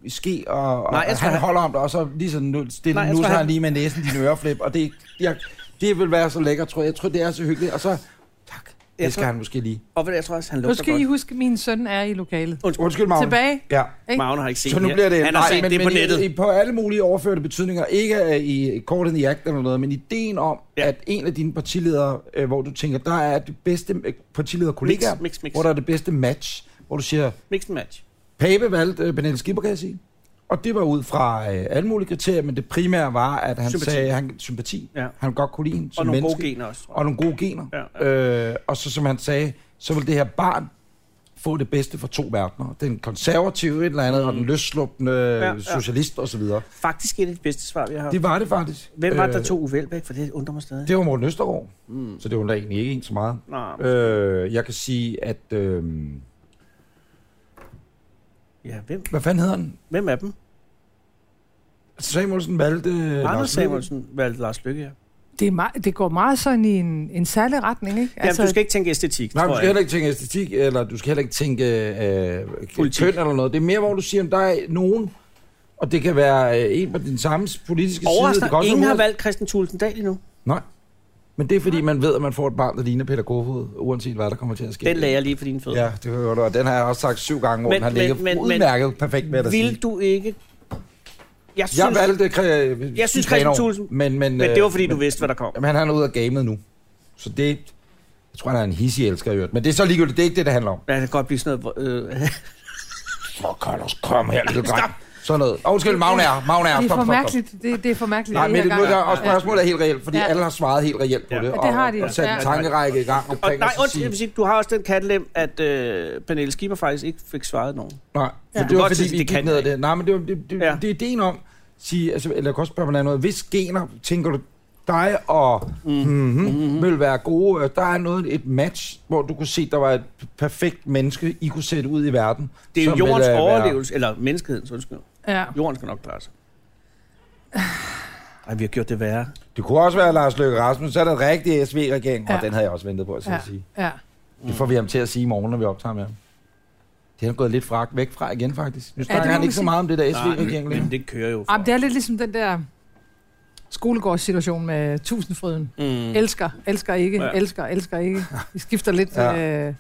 A: i ske, og, og
B: Nej, jeg
A: han
B: tror, han-
A: holder om dig, og så lige sådan nu, stille,
B: Nej,
A: Nej,
B: jeg
A: nu
B: tror,
A: så
B: han-
A: han lige med næsen din øreflip, og det, jeg, det vil være så lækkert, tror jeg. Jeg tror, det er så hyggeligt, og så, tak,
B: Jeg
A: det skal
B: tror-
A: han måske lige.
B: Og hvad det, jeg tror også, han
C: Nu
B: lugter
C: skal I
B: godt.
C: huske, at min søn er i lokalet.
A: Undskyld, Magne.
C: Tilbage.
A: Ja.
C: ikke?
B: Magne har ikke set
A: Så nu
B: her.
A: bliver det...
B: Han har set det på
A: men
B: nettet.
A: I, I, på alle mulige overførte betydninger. Ikke øh, i i kortet i jagt eller noget, men ideen om,
B: Ja.
A: ja. at en af dine partiledere, øh, hvor du tænker, der er det bedste øh, partilederkollegaer,
B: Mix, mix, mix.
A: hvor der er det bedste match, hvor du siger,
B: Mix and match.
A: Pape valgte øh, Pernille Skipper, kan jeg sige. Og det var ud fra øh, alle mulige kriterier, men det primære var, at han
B: Sympati.
A: sympati. sagde, han sympati.
B: Ja.
A: Han godt kunne lide hende som
B: Og nogle
A: menneske
B: gode gener også, tror jeg.
A: og nogle gode gener.
B: Ja,
A: Ja, Øh, og så som han sagde, så vil det her barn få det bedste fra to verdener. Den konservative et eller andet, mm. og den løsslupende
B: ja.
A: ja, socialist osv.
B: Faktisk er det det bedste svar, vi har haft.
A: Det var det faktisk.
B: Hvem var det, der
A: Øh,
B: tog Uffe Elbæk? For det undrer mig stadig.
A: Det var Morten Østergaard, mm. så det var da egentlig ikke en så meget.
B: Nej,
A: Øh, jeg kan sige, at... Øh,
B: ja, hvem,
A: hvad fanden hedder han? Altså,
B: hvem af dem?
A: Samuelsen valgte... øh,
B: Anders
A: Lars Løkke.
B: Samuelsen valgte Lars Lykke, ja.
C: Det, er meget, det går meget sådan i en, en særlig retning, ikke? Altså,
B: Jamen, du skal ikke tænke æstetik,
A: Nej, men du
B: tror
A: skal heller
B: jeg.
A: ikke tænke æstetik, eller du skal heller ikke tænke øh,
B: Politik.
A: Politik. køn eller noget. Det er mere, hvor du siger, at der er nogen, og det kan være øh, en på den samme politiske side. Det kan
B: Overraskende,
A: også
B: ingen
A: være
B: har
A: ude-
B: valgt Christian Thulesen Dahl endnu.
A: Nej, men det er fordi, man ved, at man får et barn, der ligner Peter Kofod, uanset hvad der kommer til at ske.
B: Den lagde jeg lige på dine fødder.
A: Ja, det hører du, og den har jeg også sagt syv gange, hvor
B: Men-
A: den har
B: men-
A: ligget
B: men- men-
A: udmærket perfekt med at sige.
B: Vil du ikke... Jeg synes,
A: Jeg valgte øh,
B: Jeg synes,
A: Grenaa,
B: Christian Thulesen-
A: Men, men,
B: men det var, fordi
A: øh,
B: du
A: men,
B: vidste, hvad der kom.
A: Jamen, han er ude af gamet nu. Så det... Jeg tror, han er en hissig elsker i øvrigt. Men det er så ligegyldigt. Det er ikke det, det handler om.
B: Ja, det kan godt blive sådan noget... Øh,
A: Åh, Carlos, kom her, lille dreng. Sådan noget. Og Undskyld, Magne er. Magne er.
C: Det er
A: Stop, stop,
C: for
A: stop.
C: mærkeligt. Det, det er for mærkeligt.
A: Nej,
C: det
A: men
C: her
A: det, nu,
C: gang.
A: der, og spørgsmålet er helt reelt, fordi
C: Ja.
A: ja. alle har svaret helt reelt på det.
B: Ja,
C: det har de.
A: Og, og sat en
C: Ja.
A: tankerække i gang
B: og,
A: omkring.
B: nej,
A: og så
B: undskyld,
A: sige-
B: jeg vil sige, du har også den kattelem, at øh, Pernille Skipper faktisk ikke fik svaret nogen.
A: Nej,
C: Ja.
A: ja. det var
B: Godt,
A: fordi,
B: det
A: vi gik
B: kan
A: ned ad
B: jeg
A: det. Nej, men det, var, det, det,
B: Ja.
A: ja. det er ideen om, sige, altså, eller jeg kan også spørge på en anden måde, hvis gener, tænker du, dig og mm. Mm-hmm, vil være gode, øh, der er noget, et match, hvor du kunne se, der var et perfekt menneske, I kunne sætte ud i verden.
B: Det er jo
A: som ville,
B: jordens
A: øh, være-
B: overlevelse, eller menneskehedens, undskyld.
C: Ja.
B: Jorden skal nok klare sig. Ej, vi har gjort det værre.
A: Det kunne også være Lars Løkke Rasmussen, så er der rigtig SV-regering, ja.
C: Ja.
A: og den havde jeg også ventet på at ja.
C: Ja,
A: sige.
C: ja.
A: Det får vi ham til at sige i morgen, når vi optager med ham. Det er han gået lidt fra, væk fra igen, faktisk. Nu snakker
C: det må
A: han
C: man
A: ikke så
C: sige.
A: meget om det der
B: Nej,
A: SV-regering
B: men
A: længere.
B: det kører jo.
C: Jamen, det er lidt ligesom den der skolegårdssituation med tusindfryden.
B: Mm.
C: Elsker, elsker ikke,
B: Ja.
C: ja. elsker, elsker ikke. Vi skifter lidt...
A: Ja.
C: Ja. Øh,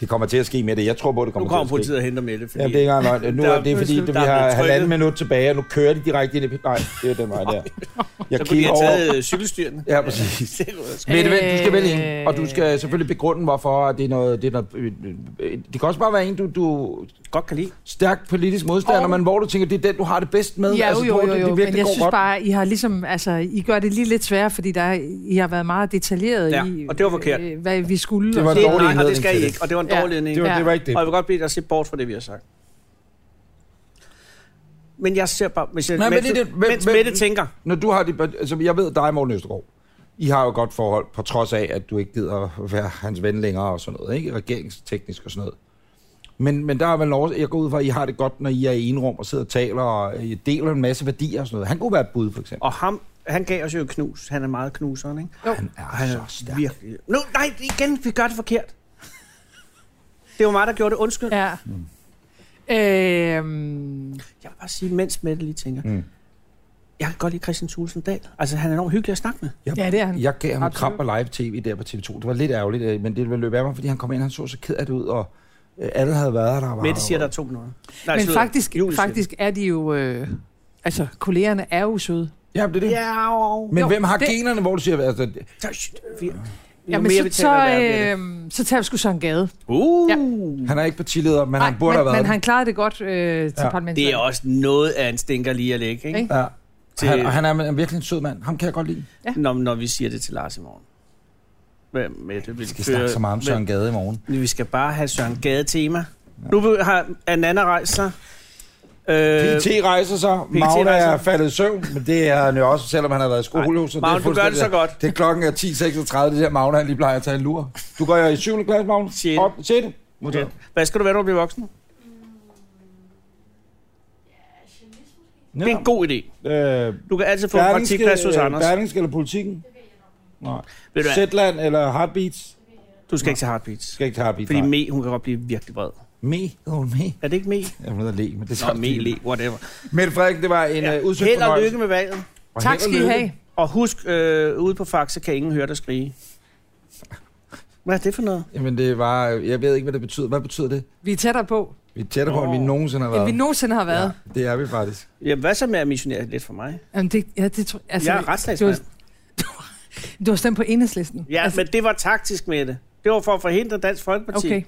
A: Det kommer til at ske med det. Jeg tror på, det
B: Nu
A: kommer,
B: kommer
A: til at ske.
B: politiet og henter Mette, fordi
A: Ja, det er ikke engang løgn. Nu er
B: Der-
A: det er fordi, det, vi
B: der er blevet
A: har
B: trykket.
A: halvandet minut tilbage, og nu kører de direkte ind i... Nej, det er den vej der. Jeg
B: så kunne de
A: kigger
B: have
A: over...
B: taget øh, cykelstyrene.
A: Ja, præcis.
B: Det kunne jeg
A: Mette,
B: sgu-
A: vent, du skal vælge en,
C: Øh.
A: og du skal selvfølgelig begrunde, hvorfor at det er noget... Det, er noget øh, øh, det kan også bare være en, du, du
B: godt kan lide.
A: stærk politisk modstander,
C: Og-
A: men hvor du tænker, det er den, du har det bedst med. Altså,
C: Ja, jo,
A: du,
C: jo,
A: det-
C: jo,
A: det
C: jo.
A: virkelig
C: men jeg
A: går
C: synes
A: godt.
C: bare, I har ligesom, altså, I gør det lige lidt sværere, fordi der, er- I har været meget detaljeret
B: Ja,
C: i,
B: og det var forkert.
C: øh, hvad vi skulle.
A: Det
C: og
A: var
C: sådan
A: en dårlig
C: noget.
B: Nej, og det
A: indledning
B: skal
A: til
B: I
A: det.
B: ikke, og det var en dårlig
C: Ja.
B: indledning.
A: Det var,
C: Ja.
A: det var ikke det.
B: Og jeg vil godt bede dig at se bort fra det, vi har sagt. Men jeg ser bare... Hvis jeg,
A: Nej, men
B: mens,
A: det er
B: du-
A: det- men-
B: mens
A: men-
B: Mette tænker...
A: Når du har de, altså, jeg ved dig, Morten Østergaard. I har jo et godt forhold, på trods af, at du ikke gider at være hans ven længere og sådan noget. Ikke? Regeringsteknisk og sådan noget. Men, men der er vel lov, jeg går ud fra, at I har det godt, når I er i en rum og sidder og taler, og I deler en masse værdier og sådan noget. Han kunne være et bud, for eksempel.
B: Og ham, han gav os jo et knus. Han er meget knuseren, ikke?
A: Han er
B: Han
A: så
B: er
A: stærk.
B: virkelig... Nu, nej, igen, vi gør det forkert. Det var mig, der gjorde det. Undskyld. Ja.
C: Ja. Øhm,
B: Jeg vil bare sige, mens Mette lige tænker...
A: Mm.
B: Mm. Jeg kan godt lide Christian Thulesen Dahl. Altså, han er enormt hyggelig at snakke med.
A: Jeg,
C: Ja, det er han.
A: Jeg gav ham
C: Absolut.
A: kramp og live tv der på TV2. Det var lidt ærgerligt, øh, men det ville løbe af mig, fordi han kom ind, han så så ked af det ud, og øh, alle havde været der. og var-
B: Mette siger, der er to minutter. Nej,
C: men
B: slutter.
C: faktisk,
B: Julie siger
C: faktisk er de jo... Øh, altså, kollegerne er jo søde.
A: Ja, det er
B: det.
A: det. Yeah.
B: Ja, og...
A: Men jo,
C: Jo,
A: hvem har det...
C: det-
A: generne, hvor du siger, altså, det-
B: Så, shit, vi, jo
C: Jamen,
B: mere vi
C: så,
B: taler,
C: så,
B: værre bliver det.
C: øh, så tager vi sgu Søren Gade.
B: Uh!
C: Ja.
A: han er ikke partileder, men Ej, han
C: Nej,
A: burde
C: men,
A: have været
C: men
A: det.
C: han klarede det godt øh, til
A: Ja.
C: ja. parlamentet.
B: Det er også noget af en stinker lige at lægge, ikke?
C: Ikke?
A: Ja.
B: Til-
A: Han, og han er en- virkelig en sød mand. Ham kan jeg godt lide.
B: Når, når vi siger det til Lars i morgen. Hvad med det?
A: Vi skal snakke så meget om Søren Gade i morgen.
B: Vi skal bare have Søren Gade-tema. Nu vil- har Ananda rejst sig. Øh,
A: PT rejser sig. Magne
B: rejser
A: er
B: sig.
A: faldet i søvn, men det er han jo også, selvom han har været i skole. Så
B: Magne, du gør det så
A: fuldstændig-
B: godt.
A: Det er klokken er 10.36, det der Magne, han lige plejer at tage en lur. Du går jo i 7. klasse, Magne?
B: Sjette.
A: Op, 6. Okay.
B: Hvad skal du være, når du bliver voksen? Det er en god idé.
A: Øh,
B: Du kan altid få en praktikplads hos Anders.
A: Berlingske eller politikken? Nej.
B: Ved du hvad?
A: Zetland eller Heartbeats?
B: Du skal ikke til Heartbeats.
A: Skal ikke til Heartbeats,
B: Fordi
A: nej.
B: Me, hun kan godt blive virkelig vred.
A: Me? Åh, oh, me.
B: Er det ikke Me?
A: Jeg ved at le, men det er
B: Nå,
A: samme
B: Me,
A: stil.
B: Le, whatever.
A: Mette Frederiksen, det var en ja.
B: Ja.
A: uh, udsøgt
B: Held og
A: fornøjelse.
B: lykke med valget.
A: Og
C: Tak
A: held og
C: skal I
A: lykke.
C: have.
B: Og husk, øh, ude på Faxe kan ingen høre dig skrige. Hvad er det for noget?
A: Jamen, det var... Jeg ved ikke, hvad det betyder. Hvad betyder det?
C: Vi er tættere på,
A: Vi er tættere på, end vi
B: Nå.
A: nogensinde har været.
C: end vi nogensinde har været.
A: Ja, det er vi faktisk.
B: Jamen, hvad så med at missionere lidt for mig?
C: Jamen, det, ja, det, tror- altså,
B: jeg er retsstatsmand.
C: det Du har stemt på enhedslisten.
B: Ja, altså, men det var taktisk med det. Det var for at forhindre Dansk Folkeparti.
C: Okay.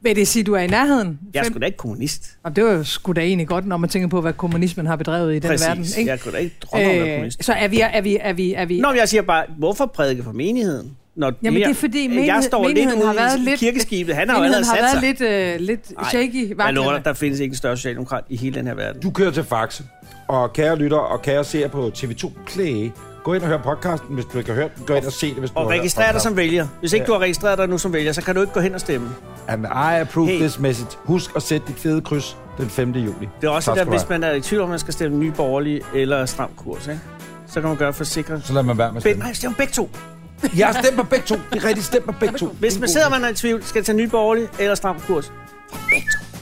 C: Vil det sige, at du er i nærheden?
B: Jeg er
C: Fem-
B: sgu da ikke kommunist.
C: Nå, det var jo sgu da egentlig godt, når man tænker på, hvad kommunismen har bedrevet i den
B: Præcis.
C: verden. Øh,
B: Jeg er sgu da ikke drømme om at være kommunist.
C: så er vi... Er vi, er vi, er vi
B: Nå, men jeg siger bare, hvorfor prædike for menigheden? Når Øh,
C: Jamen, det er fordi
B: jeg
C: menighed-
B: står lidt
C: menigheden
B: ude
C: har været
B: i
C: lidt-
B: kirkeskibet. Han har jo allerede
C: Enheden har
B: sat sig.
C: været lidt, øh, lidt
B: Nej,
C: shaky.
B: Jeg lover
C: vaklende.
B: dig, der findes ikke en større socialdemokrat i hele den her verden.
A: Du kører til Faxe. Og kære lytter og kære seere på TV2 Play, gå ind og hør podcasten, hvis du ikke har hørt den. Gå ind og se det, hvis du
B: Og
A: har hørt
B: registrer dig
A: podcasten.
B: som vælger. Hvis ikke
A: Ja.
B: du har registreret dig nu som vælger, så kan du ikke gå hen og stemme.
A: And I approve
B: Hey.
A: hey. this message. Husk at sætte dit fede kryds den 5. juli.
B: Det er
A: Tak
B: også det der,
A: skal du
B: hvis
A: have.
B: man er i tvivl om, man skal stemme nye borgerlige eller stram kurs, ikke? Så kan man gøre for sikre.
A: Så lad man være med at
B: Be-
A: stemme.
B: Nej, stem begge to.
A: Jeg har stemt på begge to. Det er rigtigt stemt på begge to.
B: Hvis man sidder man er i tvivl, skal tage nye borgerlige eller stram kurs. Begge to.